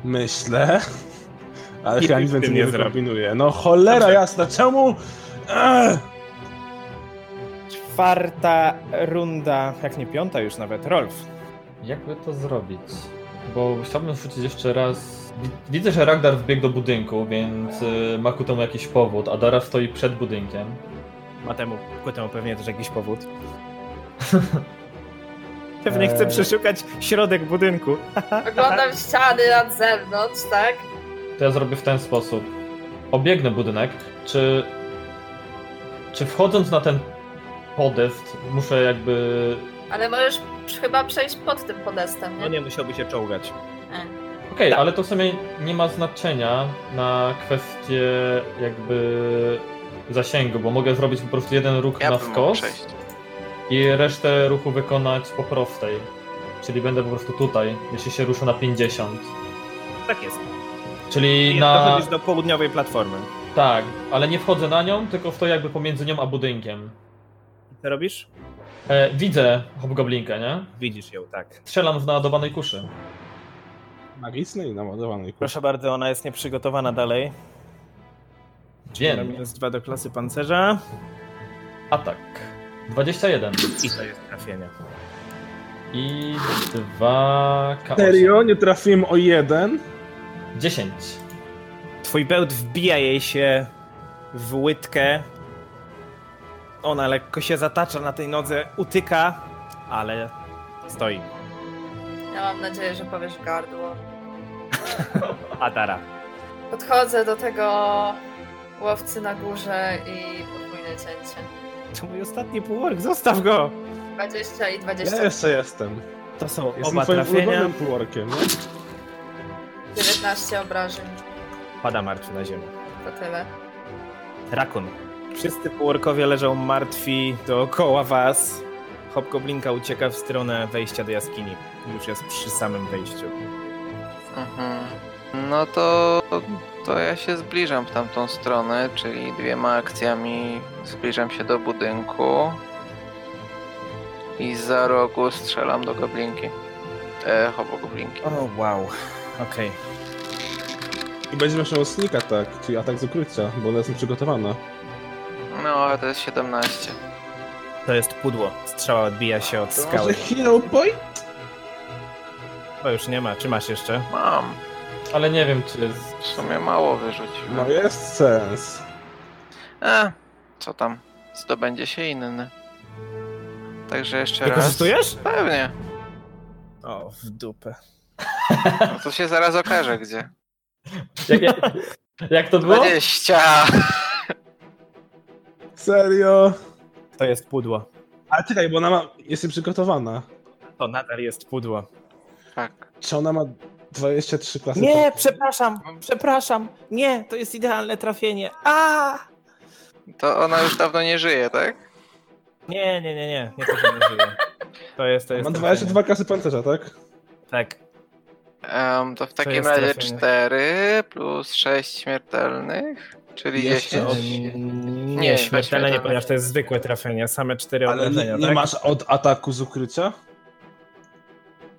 Myślę. Ale I chyba ty nic z tym więcej nie nie zrobisz. zrobię. No cholera Dobrze. jasna, czemu? Ech! czwarta runda, jak nie piąta już nawet, Rolf. Jakby to zrobić? Bo chciałbym rzucić jeszcze raz. Wi- Widzę, że Ragnar wbiegł do budynku, więc y, ma ku temu jakiś powód, a Dara stoi przed budynkiem. Ma temu, ku temu pewnie też jakiś powód. Pewnie chce Eee. przeszukać środek budynku. Oglądam ściany nad zewnątrz, tak? To ja zrobię w ten sposób. Obiegnę budynek. Czy. Czy wchodząc na ten podest, muszę jakby. Ale możesz chyba przejść pod tym podestem, No nie? E, nie musiałby się czołgać. Okej, ale to w sumie nie ma znaczenia na kwestię jakby zasięgu, bo mogę zrobić po prostu jeden ruch Ja na bym mógł wkos przejść. i resztę ruchu wykonać po prostej. Czyli będę po prostu tutaj, jeśli się ruszę na 50. Tak jest. Czyli I na. dochodzisz do południowej platformy. Tak, ale nie wchodzę na nią, tylko w to jakby pomiędzy nią a budynkiem. Co robisz? E, widzę hobgoblinkę, nie? Widzisz ją, tak. Strzelam z naładowanej kuszy. Magiczny i naładowany. kurczę. Proszę bardzo, ona jest nieprzygotowana dalej. Wiem. Minus dwa do klasy pancerza. Atak. 21. I to jest trafienie. I 2 K8. Serio? Nie trafiłem o jeden? 10. Twój bełt wbija jej się w łydkę. Ona lekko się zatacza na tej nodze, utyka, ale stoi. Ja mam nadzieję, że powiesz gardło. Adara. Podchodzę do tego łowcy na górze i podwójne cięcie. To mój ostatni półork, zostaw go! 20 i 20. Ja jeszcze jestem. To są Jestem oba twoim trafienia. ulubionym półorkiem. nie? 19 obrażeń. Pada martwy na ziemię. To tyle. Rakun. Wszyscy półorkowie leżą martwi dookoła was. Hobgoblinka ucieka w stronę wejścia do jaskini. Już jest przy samym wejściu. Mhm. No to, to ja się zbliżam w tamtą stronę, czyli dwiema akcjami zbliżam się do budynku i za rogu strzelam do goblinki. E, hobo goblinki. O, wow. Okej. I będziemy miał sneak attack, czyli atak z ukrycia, bo ona jest nieprzygotowana. No, ale to jest 17. To jest pudło. Strzała odbija się od To skały. Może hero point? Bo już nie ma. Czy masz jeszcze? Mam. Ale nie wiem, czy jest. W sumie mało wyrzuciłem. No jest sens. E, co tam? Zdobędzie się inny. Także jeszcze raz. Wykorzystujesz? Pewnie. O, w dupę. No to się zaraz okaże gdzie. Jak, jak, jak to było? 20! Serio? To jest pudło. Ale czekaj, bo ona ma... jest nieprzygotowana. To nadal jest pudło. Tak. Czy ona ma 23 klasy? Nie, przepraszam, przepraszam. Nie, to jest idealne trafienie. A! To ona już dawno nie żyje, tak? Nie, nie, nie, nie. Nie to, że nie żyje. To jest, to jest Ma trafienie. 22 klasy pancerza, tak? Tak. Em, to w takim jest razie trafienie. 4 plus 6 śmiertelnych, czyli 10. Nie, Nie, nie śmiertelne śmiertelne nie, ponieważ to jest zwykłe trafienie, same cztery Ale obrażenia, nie, nie tak? masz od ataku z ukrycia?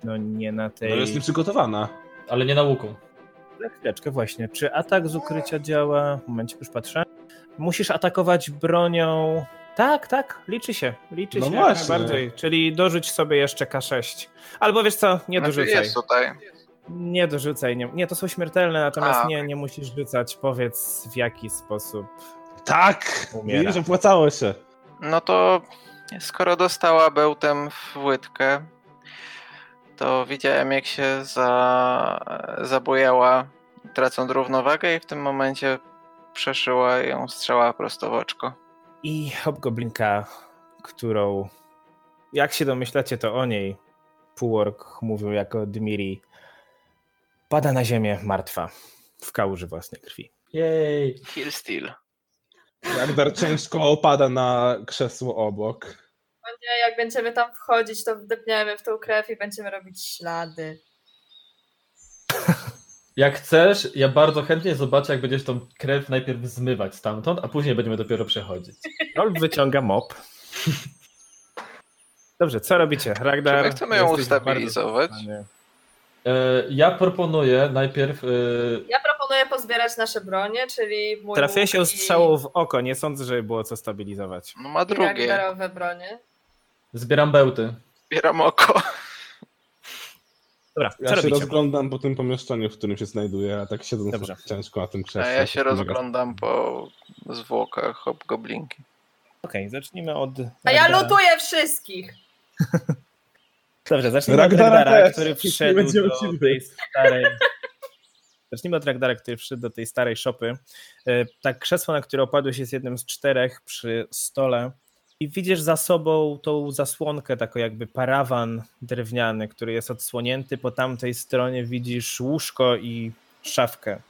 No nie na tej... No jest nieprzygotowana. Ale nie na łuku. Za chwileczkę właśnie. Czy atak z ukrycia działa? Momencik, już patrzę. Musisz atakować bronią... Tak, tak, liczy się. Liczy No się właśnie. najbardziej. Czyli dorzuć sobie jeszcze K6. Albo wiesz co, nie Znaczy dorzucaj. jest tutaj. Nie dorzucaj. Nie, nie to są śmiertelne, natomiast A, nie, okej. nie musisz rzucać. Powiedz w jaki sposób. Tak! Umiera. Widzisz, opłacało się. No to skoro dostała bełtem w łydkę, to widziałem jak się za... zabujała, tracąc równowagę i w tym momencie przeszyła ją strzała prosto w oczko. I hobgoblinka, którą, jak się domyślacie, to o niej półork mówił jako Dmiri, pada na ziemię martwa w kałuży własnej krwi. Jej. Heal steal. Ragnar ciężko opada na krzesło obok. O nie, jak będziemy tam wchodzić, to wdepniemy w tą krew i będziemy robić ślady. Jak chcesz, ja bardzo chętnie zobaczę, jak będziesz tą krew najpierw zmywać stamtąd, a później będziemy dopiero przechodzić. Rolf wyciąga mop. Dobrze, co robicie? Czy Ragnar, my chcemy ją jesteś ustabilizować? bardzo- E, ja proponuję najpierw. e, Ja proponuję pozbierać nasze bronie, czyli mój Trafię łuk się strzałą w oko, nie sądzę, żeby było co stabilizować. No ma i drugie. ragnarowe bronie. Zbieram bełty. Zbieram oko. Dobra, co Ja się robicie? rozglądam po tym pomieszczeniu, w którym się znajduję, a tak siedząc Dobrze. ciężko na tym A krześle. ja się tak Nie mogę- rozglądam po zwłokach hobgoblinki. Okej, zacznijmy od. A ja Ragdara. lutuję wszystkich! Dobrze, zacznijmy Ragdara od Ragdara, też. który Wszyscy wszedł będziemy do ciebie. tej starej. Zacznijmy od Ragdara, który wszedł do tej starej szopy. E, Tak, krzesło, na które opadłeś, jest jednym z czterech przy stole. I widzisz za sobą tą zasłonkę, taką jakby parawan drewniany, który jest odsłonięty. Po tamtej stronie widzisz łóżko i szafkę.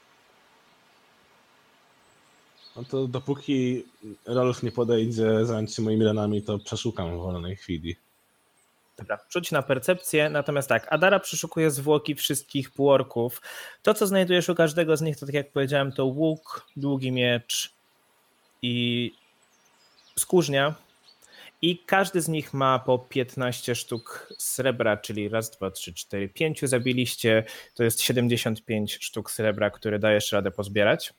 No to dopóki Rolf nie podejdzie zająć się moimi ranami, to przeszukam w wolnej chwili. Dobra, rzuć na percepcję. Natomiast tak, Adara przeszukuje zwłoki wszystkich półorków. To, co znajdujesz u każdego z nich, to tak jak powiedziałem, to łuk, długi miecz i skórznia. I każdy z nich ma po 15 sztuk srebra, czyli raz, dwa, trzy, cztery, pięciu zabiliście. To jest 75 sztuk srebra, które dajesz radę pozbierać.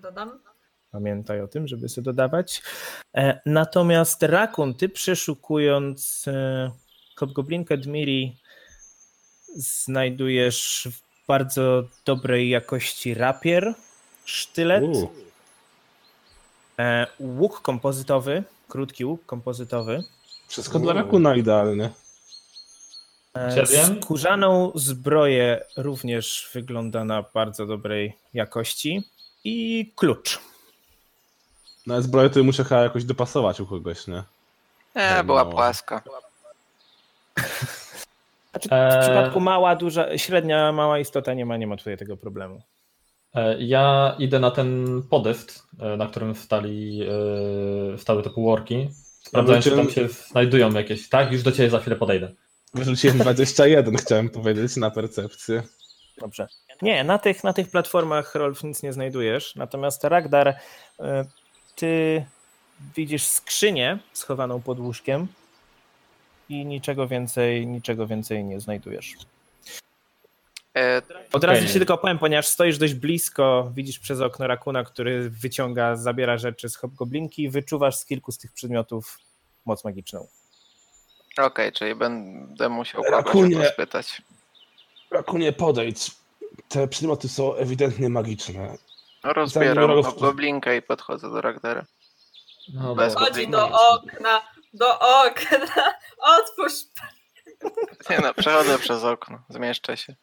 Dodam. Pamiętaj o tym, żeby sobie dodawać. E, Natomiast Rakun, ty przeszukując e, Hobgoblinkę Dmiri, znajdujesz w bardzo dobrej jakości rapier, sztylet, U, e, łuk kompozytowy, krótki łuk kompozytowy, wszystko dla Rakuna idealnie. e, Siedem. skórzaną zbroję również wygląda na bardzo dobrej jakości i klucz. No ale zbroję to muszę chyba jakoś dopasować u kogoś, nie? E, była No. płaska. Znaczy, Eee. W przypadku mała, duża, średnia, mała istota nie ma, nie ma tutaj tego problemu. E, Ja idę na ten podest, e, na którym wstali, e, wstały te półorki. Sprawdzając, czy tam się znajdują jakieś. Tak, już do ciebie za chwilę podejdę. Wyrzuciłem 21, chciałem powiedzieć, na percepcję. Dobrze. Nie, na tych, na tych platformach Rolf nic nie znajdujesz. Natomiast Ragdar, y, ty widzisz skrzynię schowaną pod łóżkiem i niczego więcej, niczego więcej nie znajdujesz. E, Od Okej. razu ci tylko powiem, ponieważ stoisz dość blisko, widzisz przez okno rakuna, który wyciąga, zabiera rzeczy z hobgoblinki i wyczuwasz z kilku z tych przedmiotów moc magiczną. Okej, czyli będę musiał Rakunie. kogoś spytać. Rakunie, podejdź. Te przedmioty są ewidentnie magiczne. No, Rozbieram Rolf- hobgoblinkę i podchodzę do Ragdara. No, Bez dobra. Chodzi do okna, do okna, otwórz Nie no, przechodzę przez okno, zmieszczę się.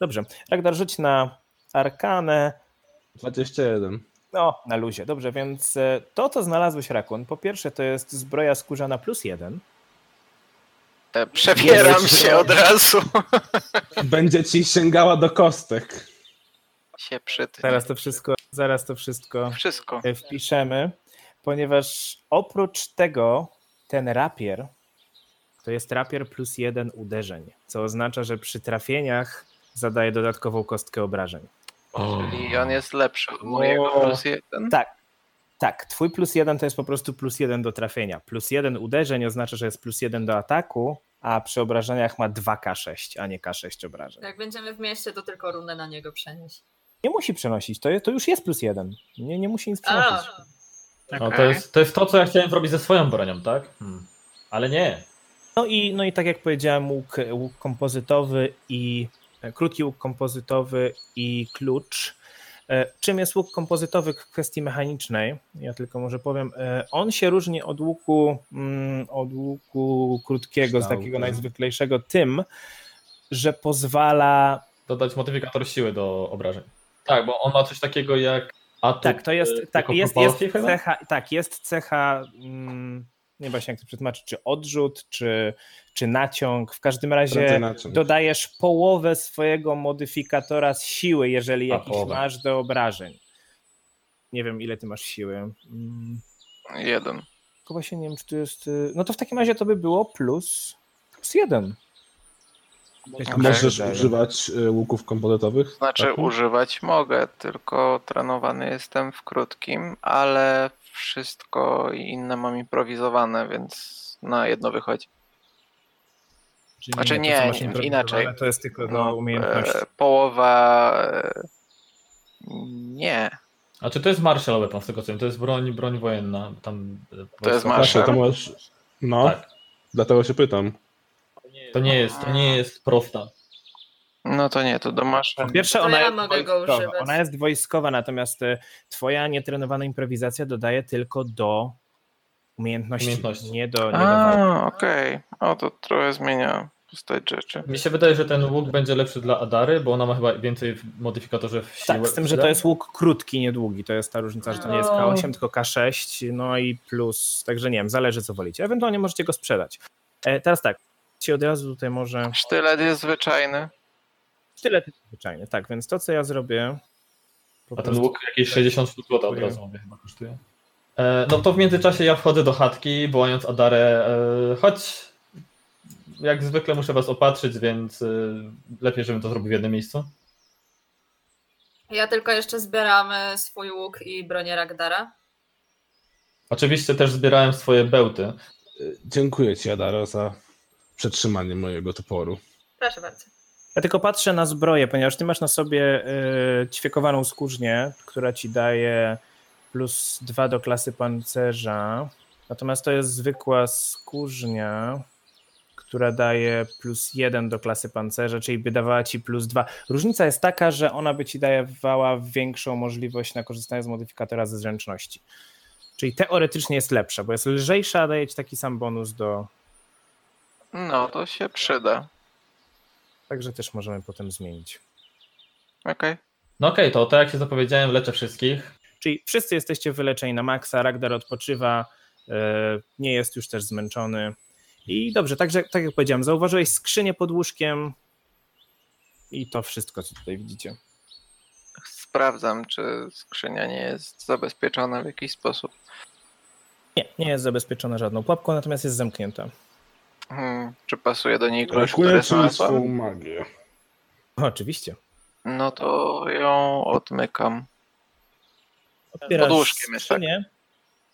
Dobrze. Ragdar, rzuć na arkanę. 21. No, na luzie. Dobrze, więc e, to, co znalazłeś, Rakun, po pierwsze to jest zbroja skórzana plus jeden. E, przebieram się od razu. Będzie ci sięgała do kostek. się przytnie. Zaraz to wszystko, zaraz to wszystko Wszystko. e, wpiszemy, ponieważ oprócz tego ten rapier to jest rapier plus jeden uderzeń, co oznacza, że przy trafieniach zadaje dodatkową kostkę obrażeń. Czyli on jest lepszy od mojego plus jeden. Tak, twój plus jeden to jest po prostu plus jeden do trafienia. Plus jeden uderzeń oznacza, że jest plus jeden do ataku, a przy obrażeniach ma 2K6, a nie K6 obrażeń. Jak będziemy w mieście, to tylko runę na niego przenieść. Nie musi przenosić, to, je- to już jest plus jeden. Nie, nie musi nic A, przenosić. No, to, jest, to jest to, co ja chciałem zrobić ze swoją bronią, tak? Hmm. Ale nie. No i, no i tak jak powiedziałem, łuk, łuk kompozytowy i e, krótki łuk kompozytowy i klucz. E, Czym jest łuk kompozytowy w kwestii mechanicznej? Ja tylko może powiem. E, On się różni od łuku, mm, od łuku krótkiego, z takiego Kształtem. najzwyklejszego, tym, że pozwala. Dodać modyfikator siły do obrażeń. Tak, bo on ma coś takiego jak. Atut, Tak, to jest. e, Tak, tylko jest, jest proporcje chyba? cecha. Tak, jest cecha. mm, Nie wiem, właśnie jak to przetłumaczyć, czy odrzut, czy, czy naciąg. W każdym razie. Prędzej na czym? dodajesz połowę swojego modyfikatora z siły, jeżeli A, jakiś połowę. masz do obrażeń. Nie wiem, ile ty masz siły. Mm, Jeden. Tylko właśnie nie wiem, czy to jest. y, No to w takim razie to by było plus, plus jeden. A Możesz używać y, łuków komponentowych? Znaczy Raku? używać mogę, tylko trenowany jestem w krótkim, ale wszystko inne mam improwizowane, więc na jedno wychodzi. Czyli Znaczy to, co nie, masz nie, improwizowane, inaczej. To jest tylko do No, umiejętności. e, połowa. e, Nie. A czy to jest martial weapon z tego co wiem? To jest broń, broń wojenna. Tam, e, wojskowa. jest martial. Proszę, to masz. No, Tak. dlatego się pytam. To nie jest, to nie jest prosta. No to nie, to do masza. Po pierwsze, To ona, ja jest mogę go wojskowa. używać. ona jest wojskowa, natomiast e, twoja nietrenowana improwizacja dodaje tylko do umiejętności, Umiejętności. nie do, nie do walki. A, okej. O, to trochę zmienia postać rzeczy. Mi się wydaje, że ten łuk będzie lepszy dla Adary, bo ona ma chyba więcej w modyfikatorze w siłę. Tak, z tym, że to jest łuk krótki, niedługi, to jest ta różnica, że to nie jest No. K8, tylko K6, no i plus, także nie wiem, zależy co wolicie. Ewentualnie możecie go sprzedać. E, teraz tak, ci od razu tutaj może... Sztylet jest zwyczajny. Sztylet jest zwyczajny, tak, więc to co ja zrobię... po A ten prostu- łuk jakieś 60 sztuk złota od razu mówię, chyba kosztuje. E, no to w międzyczasie ja wchodzę do chatki, wołając Adarę, e, chodź. Jak zwykle muszę was opatrzyć, więc e, lepiej, żebym to zrobił w jednym miejscu. Ja tylko jeszcze zbieram e, swój łuk i bronię Ragdara. Oczywiście też zbierałem swoje bełty. Y, Dziękuję ci, Adaro, za przetrzymanie mojego toporu. Proszę bardzo. Ja tylko patrzę na zbroję, ponieważ ty masz na sobie y, ćwiekowaną skórznię, która ci daje plus dwa do klasy pancerza. Natomiast to jest zwykła skórznia, która daje plus jeden do klasy pancerza, czyli by dawała ci plus dwa. Różnica jest taka, że ona by ci dawała większą możliwość na korzystanie z modyfikatora ze zręczności. Czyli teoretycznie jest lepsza, bo jest lżejsza, a daje ci taki sam bonus do. No, to się przyda. Także też możemy potem zmienić. Okej. No okej, to tak jak się zapowiedziałem, leczę wszystkich. Czyli wszyscy jesteście wyleczeni na maksa, Ragnar odpoczywa, e, nie jest już też zmęczony. I dobrze, także tak jak powiedziałem, zauważyłeś skrzynię pod łóżkiem i to wszystko, co tutaj widzicie. Sprawdzam, czy skrzynia nie jest zabezpieczona w jakiś sposób. Nie, nie jest zabezpieczona żadną pułapką, natomiast jest zamknięta. Hmm, czy pasuje do niej klucz, który Rakuję czyli znalazła? swą magię. O, oczywiście. No to ją odmykam. Otwierasz Pod łóżkiem jest, tak? skrzynię.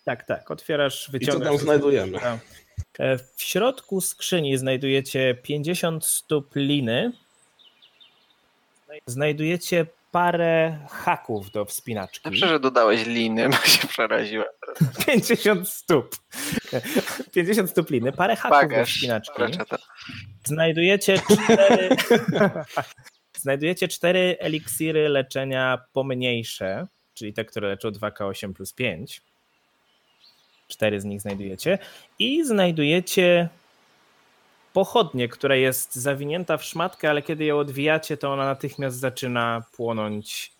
Tak, tak, otwierasz, I co wyciągasz. tam znajdujemy? E, W środku skrzyni znajdujecie 50 stóp liny. Znajdujecie parę haków do wspinaczki. Dobrze, że dodałeś liny, bo się przeraziłem. 50 stóp. 50 stóp liny, parę haków do Bagaż. wspinaczki. Raczeta. Znajdujecie cztery... Znajdujecie cztery eliksiry leczenia pomniejsze, czyli te, które leczą 2K8 plus 5. Cztery z nich znajdujecie. I znajdujecie pochodnię, która jest zawinięta w szmatkę, ale kiedy ją odwijacie, to ona natychmiast zaczyna płonąć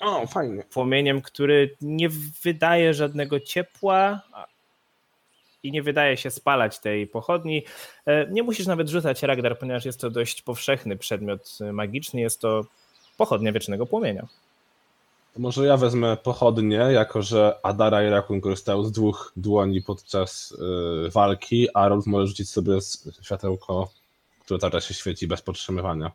O, fajnie. płomieniem, który nie wydaje żadnego ciepła a- i nie wydaje się spalać tej pochodni. E, Nie musisz nawet rzucać ragdar, ponieważ jest to dość powszechny przedmiot e, magiczny. Jest to pochodnia wiecznego płomienia. To może ja wezmę pochodnie, jako że Adara i Rakun korzystają z dwóch dłoni podczas y, walki, a Rolf może rzucić sobie z- światełko, które cały czas się świeci bez podtrzymywania.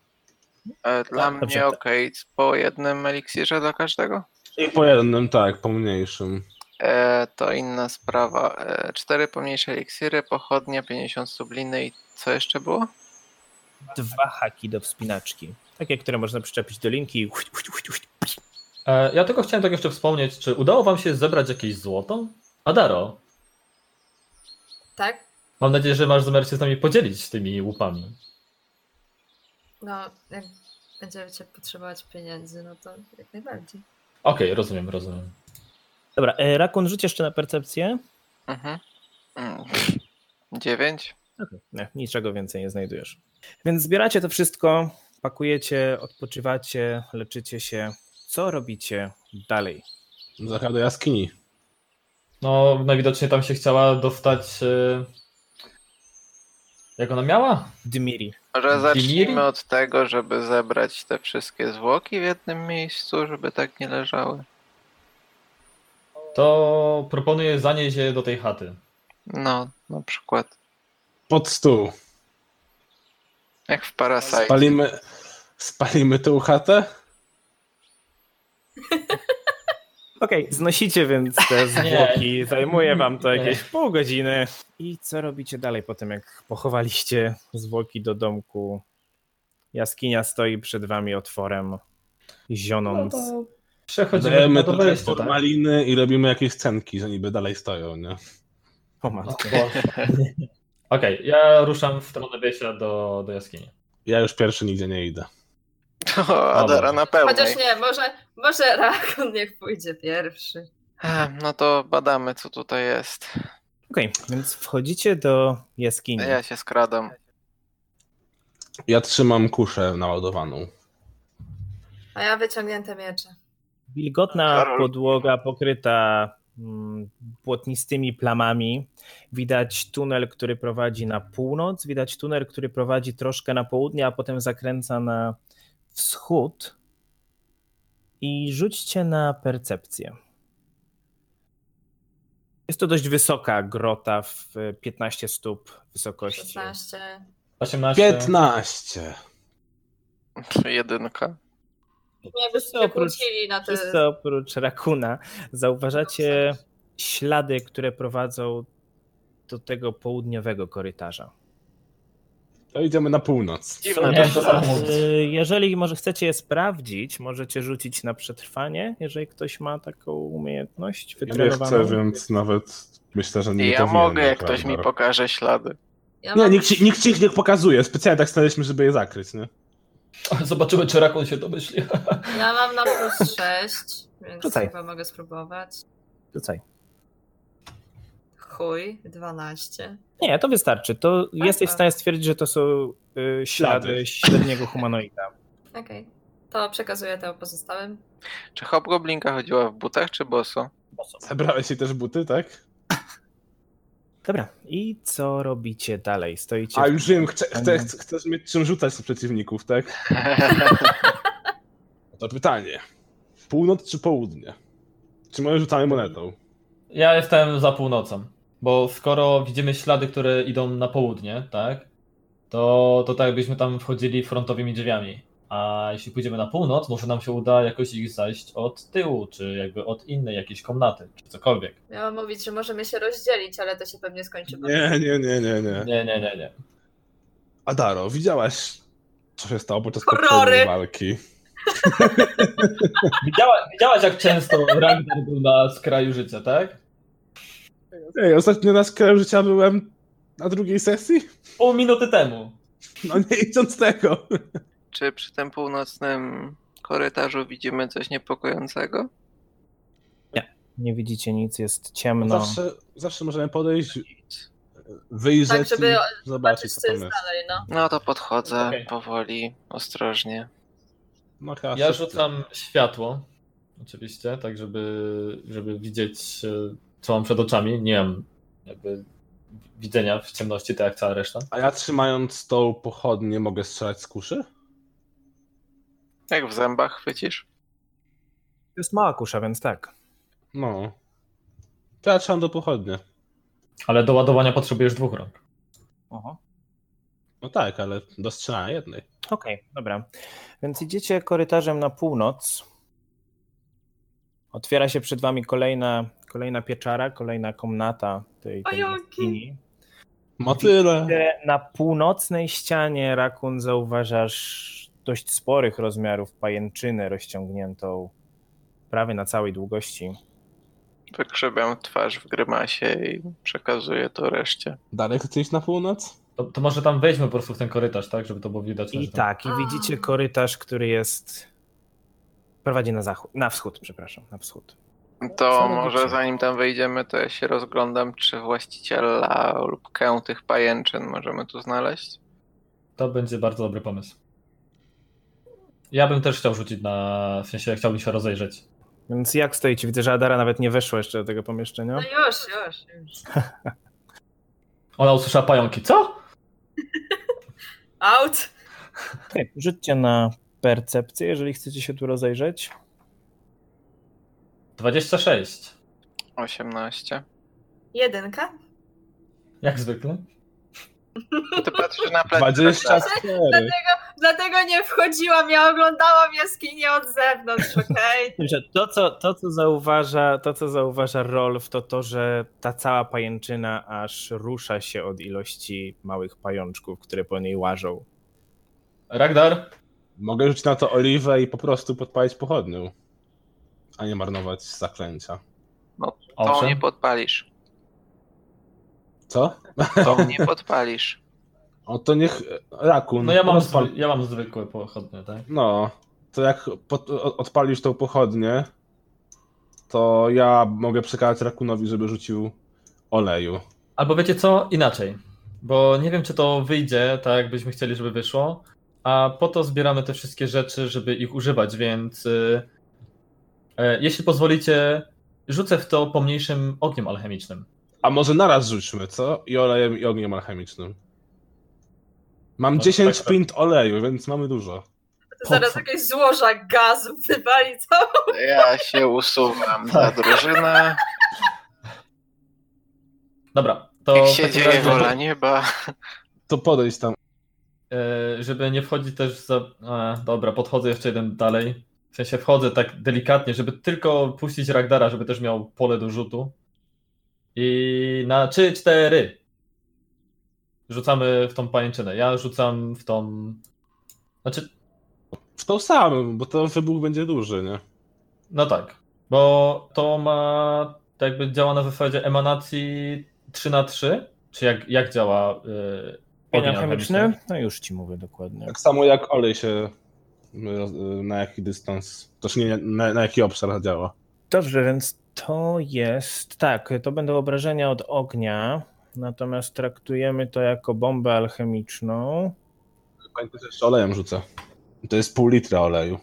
E, Dla dobrze, mnie tak. okej, po jednym eliksirze dla każdego. I po jednym, tak, po mniejszym. E, to inna sprawa. E, cztery pomniejsze eliksiry, pochodnia, 50 subliny i co jeszcze było? Dwa haki do wspinaczki. Takie, które można przyczepić do linki. i huć, huć, huć, huć. E, ja tylko chciałem tak jeszcze wspomnieć, czy udało wam się zebrać jakieś złoto? Adaro, Tak? mam nadzieję, że masz zamiar się z nami podzielić tymi łupami. No, jak będziecie potrzebować pieniędzy, no to jak najbardziej. Okej, rozumiem, rozumiem. Dobra, e, Rakun, rzuć jeszcze na percepcję. Mhm. Mm. Dziewięć. Nie, niczego więcej nie znajdujesz. Więc zbieracie to wszystko, pakujecie, odpoczywacie, leczycie się. Co robicie dalej? Zachęca do jaskini. No, najwidoczniej tam się chciała dostać. e, Jak ona miała? Dmiri. Może Dimiri? zacznijmy od tego, żeby zebrać te wszystkie zwłoki w jednym miejscu, żeby tak nie leżały. To proponuję zanieść je do tej chaty. No, na przykład. Pod stół. Jak w Parasite. Spalimy, spalimy tą chatę? Okej, znosicie więc te zwłoki, zajmuje wam to Nie. jakieś pół godziny. I co robicie dalej po tym, jak pochowaliście zwłoki do domku? Jaskinia stoi przed wami otworem, No zionąc. to przechodzimy Dajemy na to trochę wejście, tak? formaliny i robimy jakieś cenki, że niby dalej stoją, nie? O matko. Okej, ja ruszam w stronę wejścia do, do jaskini. Ja już pierwszy nigdzie nie idę. O, Adara na pewno. Chociaż nie, może, może Rakon niech pójdzie pierwszy. No to badamy, co tutaj jest. Okej, więc wchodzicie do jaskini. Ja się skradam. Ja trzymam kuszę naładowaną. A ja wyciągnięte miecze. Wilgotna Karol. podłoga pokryta mm, błotnistymi plamami. Widać tunel, który prowadzi na północ, widać tunel, który prowadzi troszkę na południe, a potem zakręca na wschód. I rzućcie na percepcję. Jest to dość wysoka grota w e, 15 stóp wysokości. 16. 18. 15! Jedynka. Nie byście Oprócz- kłócili na te... Wszyscy oprócz rakuna zauważacie ślady, które prowadzą do tego południowego korytarza. To idziemy na północ. Dziwne Nie, to to samo. Y, Jeżeli może chcecie je sprawdzić, możecie rzucić na przetrwanie, jeżeli ktoś ma taką umiejętność Ja nie chcę, wytrenowaną. więc nawet myślę, że nie Ja powinienem, mogę, jak ktoś mi Ragnar. pokaże ślady. Ja no. Nie, mam- nikt, ci- nikt ci ich nie pokazuje. Specjalnie tak stanęliśmy, żeby je zakryć, nie? Zobaczymy, czy Rakun się domyśli. Ja mam na plus 6, więc Rzucaj. chyba mogę spróbować. Rzucaj. Chuj, 12. Nie, to wystarczy. To jesteś w stanie stwierdzić, że to są y, ślady Ślady. średniego humanoida. Okej. To przekazuję to pozostałym. Czy Hobgoblinka chodziła w butach, czy boso? Zabrałeś jej też buty, tak? Dobra, i co robicie dalej? Stoicie. A w- już wiem, chce, chce, chce, chcesz mieć czym rzucać z przeciwników, tak? To pytanie. Północ czy południe? Czy może rzucamy monetą? Ja jestem za północą, bo skoro widzimy ślady, które idą na południe, tak? To, to tak jakbyśmy tam wchodzili frontowymi drzwiami. A jeśli pójdziemy na północ, może nam się uda jakoś ich zajść od tyłu, czy jakby od innej jakiejś komnaty, czy cokolwiek. Miałam mówić, że możemy się rozdzielić, ale to się pewnie skończy. bo- Nie, nie, nie, nie, nie. Nie, nie, nie, nie. Adaro, widziałaś, co się stało podczas Horrory. poprzedniej walki. Widziała, widziałaś jak często Ragnar był na skraju życia, tak? Ej, ostatnio na skraju życia byłem na drugiej sesji? Pół minuty temu. No nie idąc tego. Czy przy tym północnym korytarzu widzimy coś niepokojącego? Nie widzicie nic, jest ciemno. Zawsze, zawsze możemy podejść, wyjrzeć Tak, żeby i zobaczyć, Zobaczyć, co co tam jest jest. dalej, no. No to podchodzę Okej. powoli, ostrożnie. No, chyba Ja wszyscy. rzucam światło, oczywiście, tak żeby, żeby widzieć, e, co mam przed oczami. Nie mam jakby widzenia w ciemności, tak jak cała reszta. A ja trzymając tą pochodnię mogę strzelać z kuszy? Jak w zębach chwycisz? To jest mała kusza, więc tak. No. To ja trzymam do pochodnie. Ale do ładowania potrzebujesz dwóch rąk. Oho. No tak, ale do strzelania jednej. Okej, dobra. Więc idziecie korytarzem na północ. Otwiera się przed wami kolejna, kolejna pieczara, kolejna komnata tej, tej Ojoki. jaskini. Motyle! Na północnej ścianie rakun zauważasz dość sporych rozmiarów pajęczynę rozciągniętą prawie na całej długości. Wykrzywiam twarz w grymasie i przekazuję to reszcie. Dalej chcesz na północ? To, to może tam wejdźmy po prostu w ten korytarz, tak? Żeby to było widać. I że tam- tak, i widzicie korytarz, który jest prowadzi na zachód, na wschód, przepraszam, na wschód. To Co może robicie? zanim tam wejdziemy, to ja się rozglądam, czy właściciela lub kę tych pajęczyn możemy tu znaleźć. To będzie bardzo dobry pomysł. Ja bym też chciał rzucić na... w sensie chciałbym się rozejrzeć. Więc jak stoicie? Widzę, że Adara nawet nie weszła jeszcze do tego pomieszczenia. No już, już, już. Ona usłyszała pająki. Co? Out! Okej, rzućcie na percepcję, jeżeli chcecie się tu rozejrzeć. 26. 18. Jedynka? Jak zwykle. Ty patrzysz na plecak. 24! Dlatego, dlatego nie wchodziłam, ja oglądałam jaskinię od zewnątrz, okej? Tym, że To co, to, co zauważa, to, co zauważa Rolf, to to, że ta cała pajęczyna aż rusza się od ilości małych pajączków, które po niej łażą. Ragdar, Mogę rzucić na to oliwę i po prostu podpalić pochodnią. A nie marnować zaklęcia. Tą nie owszem, podpalisz. Co? Tą nie podpalisz. O to niech e, rakun. no ja mam, rozpal- zwy- ja mam zwykłe pochodnie, tak? No, to jak pod, o- odpalisz tą pochodnię, to ja mogę przekazać rakunowi, żeby rzucił oleju. Albo wiecie co? Inaczej. Bo nie wiem, czy to wyjdzie tak, jakbyśmy chcieli, żeby wyszło. A po to zbieramy te wszystkie rzeczy, żeby ich używać, więc y, e, jeśli pozwolicie, rzucę w to pomniejszym ogniem alchemicznym. A może naraz rzućmy, co? I olejem, i ogniem alchemicznym. Mam No, 10 tak, tak. pint oleju, więc mamy dużo. To Zaraz co? jakieś złoża gazu wywali całą Ja się usuwam za drużynę. Dobra, to Jak w się takim dzieje razie- wola nieba. To podejdź tam. E, żeby nie wchodzić też za. E, dobra, podchodzę jeszcze jeden dalej. W sensie wchodzę tak delikatnie, żeby tylko puścić Ragdara, żeby też miał pole do rzutu. I na 3-4 rzucamy w tą pajęczynę. Ja rzucam w tą. Znaczy, W tą samą, bo to wybuch będzie duży, nie? no tak, bo to ma. To jakby działa na zasadzie emanacji 3 na 3 Czy jak, jak działa. Yy, Ogień alchemiczny? No już ci mówię dokładnie. Tak samo jak olej się y, roz- y, na jaki dystans, też nie na, na jaki obszar działa. Dobrze, więc to jest. Tak, to będą obrażenia od ognia. Natomiast traktujemy to jako bombę alchemiczną. Pamiętaj, że jeszcze olejem rzucę. To jest pół litra oleju.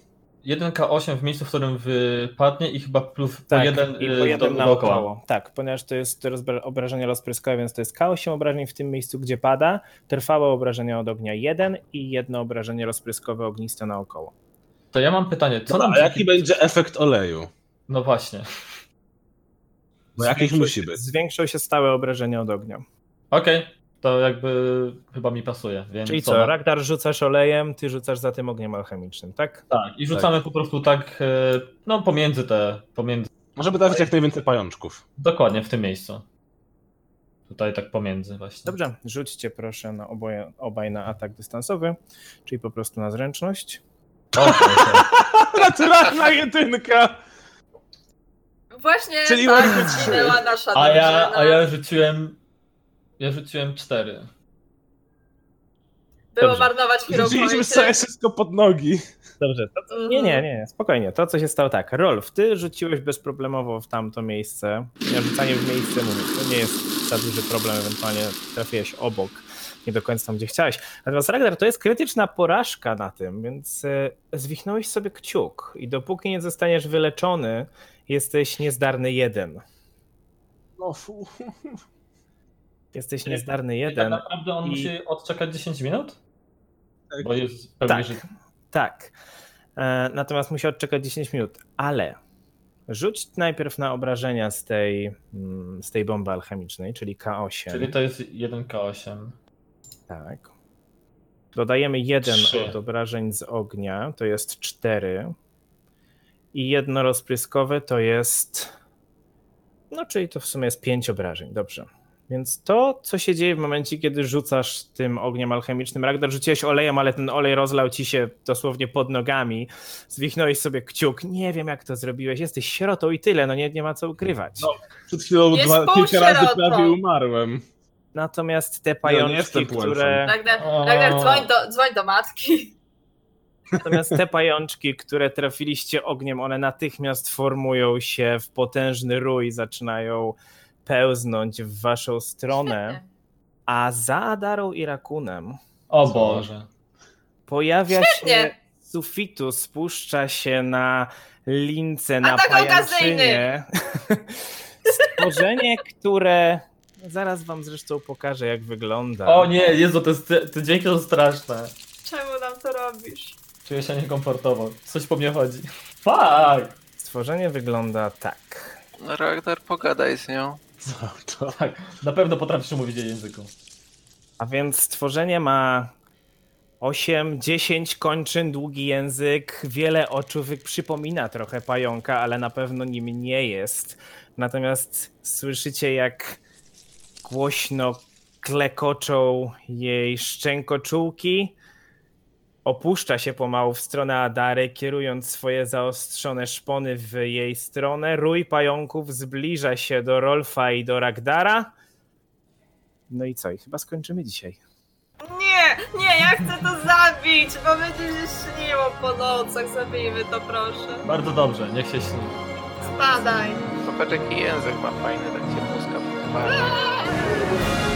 1K8 w miejscu, w którym wypadnie i chyba plus Tak, po jeden, i y, po jeden do- dookoła. naokoło. Tak, ponieważ to jest rozbra- obrażenie rozpryskowe, więc to jest K8 obrażeń w tym miejscu, gdzie pada. Trwałe obrażenia od ognia 1 i jedno obrażenie rozpryskowe ogniste naokoło. To ja mam pytanie, co Dobra, nam... a jaki będzie efekt oleju? No właśnie. Bo jakich Zwiększą No musi się- być? Zwiększą się stałe obrażenia od ognia. Okej, to jakby chyba mi pasuje, więc... Czyli ona- co, no? Ragnar rzucasz olejem, ty rzucasz za tym ogniem alchemicznym, tak? Tak, i rzucamy po prostu tak, e, no pomiędzy te, pomiędzy... Może trafić jak najwięcej pajączków. Dokładnie w tym miejscu. Tutaj tak pomiędzy właśnie. Dobrze, rzućcie proszę na oboje, obaj na atak dystansowy, czyli po prostu na zręczność. O, proszę. Naturalna jedynka! Właśnie Czyli tak ładnie trzy. zginęła nasza a, ja, no. drużyna. a ja rzuciłem... Ja rzuciłem cztery. Było Dobrze. marnować hero Rzuciliśmy pointy. sobie wszystko pod nogi. Dobrze, Mhm. Nie, nie, nie, spokojnie. To, co się stało tak. Rolf, ty rzuciłeś bezproblemowo w tamto miejsce. Ja rzucanie w miejsce mówię, to nie jest za duży problem, ewentualnie trafiłeś obok, nie do końca tam, gdzie chciałeś. Natomiast Ragnar, to jest krytyczna porażka na tym, więc e, zwichnąłeś sobie kciuk i dopóki nie zostaniesz wyleczony, jesteś niezdarny jeden. No fu. Jesteś Czyli- niezdarny I tak jeden. naprawdę on I- musi odczekać 10 minut? Tak. Bo jest pewnie, Tak. że... Tak. E, Natomiast musi odczekać 10 minut, ale rzuć najpierw na obrażenia z tej, mm, z tej bomby alchemicznej, czyli K8. Czyli to jest 1K8. Tak. Dodajemy jeden Trzy. od obrażeń z ognia, to jest 4. I jedno rozpryskowe to jest. No, czyli to w sumie jest 5 obrażeń, dobrze. Więc to, co się dzieje w momencie, kiedy rzucasz tym ogniem alchemicznym, Ragnar rzuciłeś olejem, ale ten olej rozlał ci się dosłownie pod nogami, zwichnąłeś sobie kciuk, nie wiem jak to zrobiłeś, jesteś sierotą i tyle, no nie, nie ma co ukrywać. No, Przed chwilą Jest dwa, pół kilka razy sierotą. prawie umarłem. Natomiast te nie pajączki, jestem puelfem. które... Ragnar, O. Ragnar dzwoń, do, dzwoń do matki. Natomiast te pajączki, które trafiliście ogniem, one natychmiast formują się w potężny rój, zaczynają pełznąć w waszą stronę, a za Adarą i Rakunem O Co? Boże. pojawia się Świetnie. z sufitu, spuszcza się na lince, na Atak pajęczynie. Stworzenie, które... Zaraz wam zresztą pokażę, jak wygląda. O nie, Jezu, to, jest, to dźwięki są straszne. Czemu nam to robisz? Czuję się niekomfortowo. Coś po mnie chodzi. Fuck! Stworzenie wygląda tak. No, Ragnar, pogadaj z nią. Co to? Tak, na pewno potrafisz mówić jej języku. A więc stworzenie ma 8, 10 kończyn, długi język, wiele oczówek, przypomina trochę pająka, ale na pewno nim nie jest. Natomiast słyszycie, jak głośno klekoczą jej szczękoczułki. Opuszcza się pomału w stronę Adary, kierując swoje zaostrzone szpony w jej stronę. Rój pająków zbliża się do Rolfa i do Ragdara. No i co? I chyba skończymy dzisiaj. Nie, nie, ja chcę to zabić, bo będzie się śniło po nocach. Zabijmy to, proszę. Bardzo dobrze, niech się śni. Spadaj. Popatrz jaki język ma fajny, tak się muska. podoba. Aaa!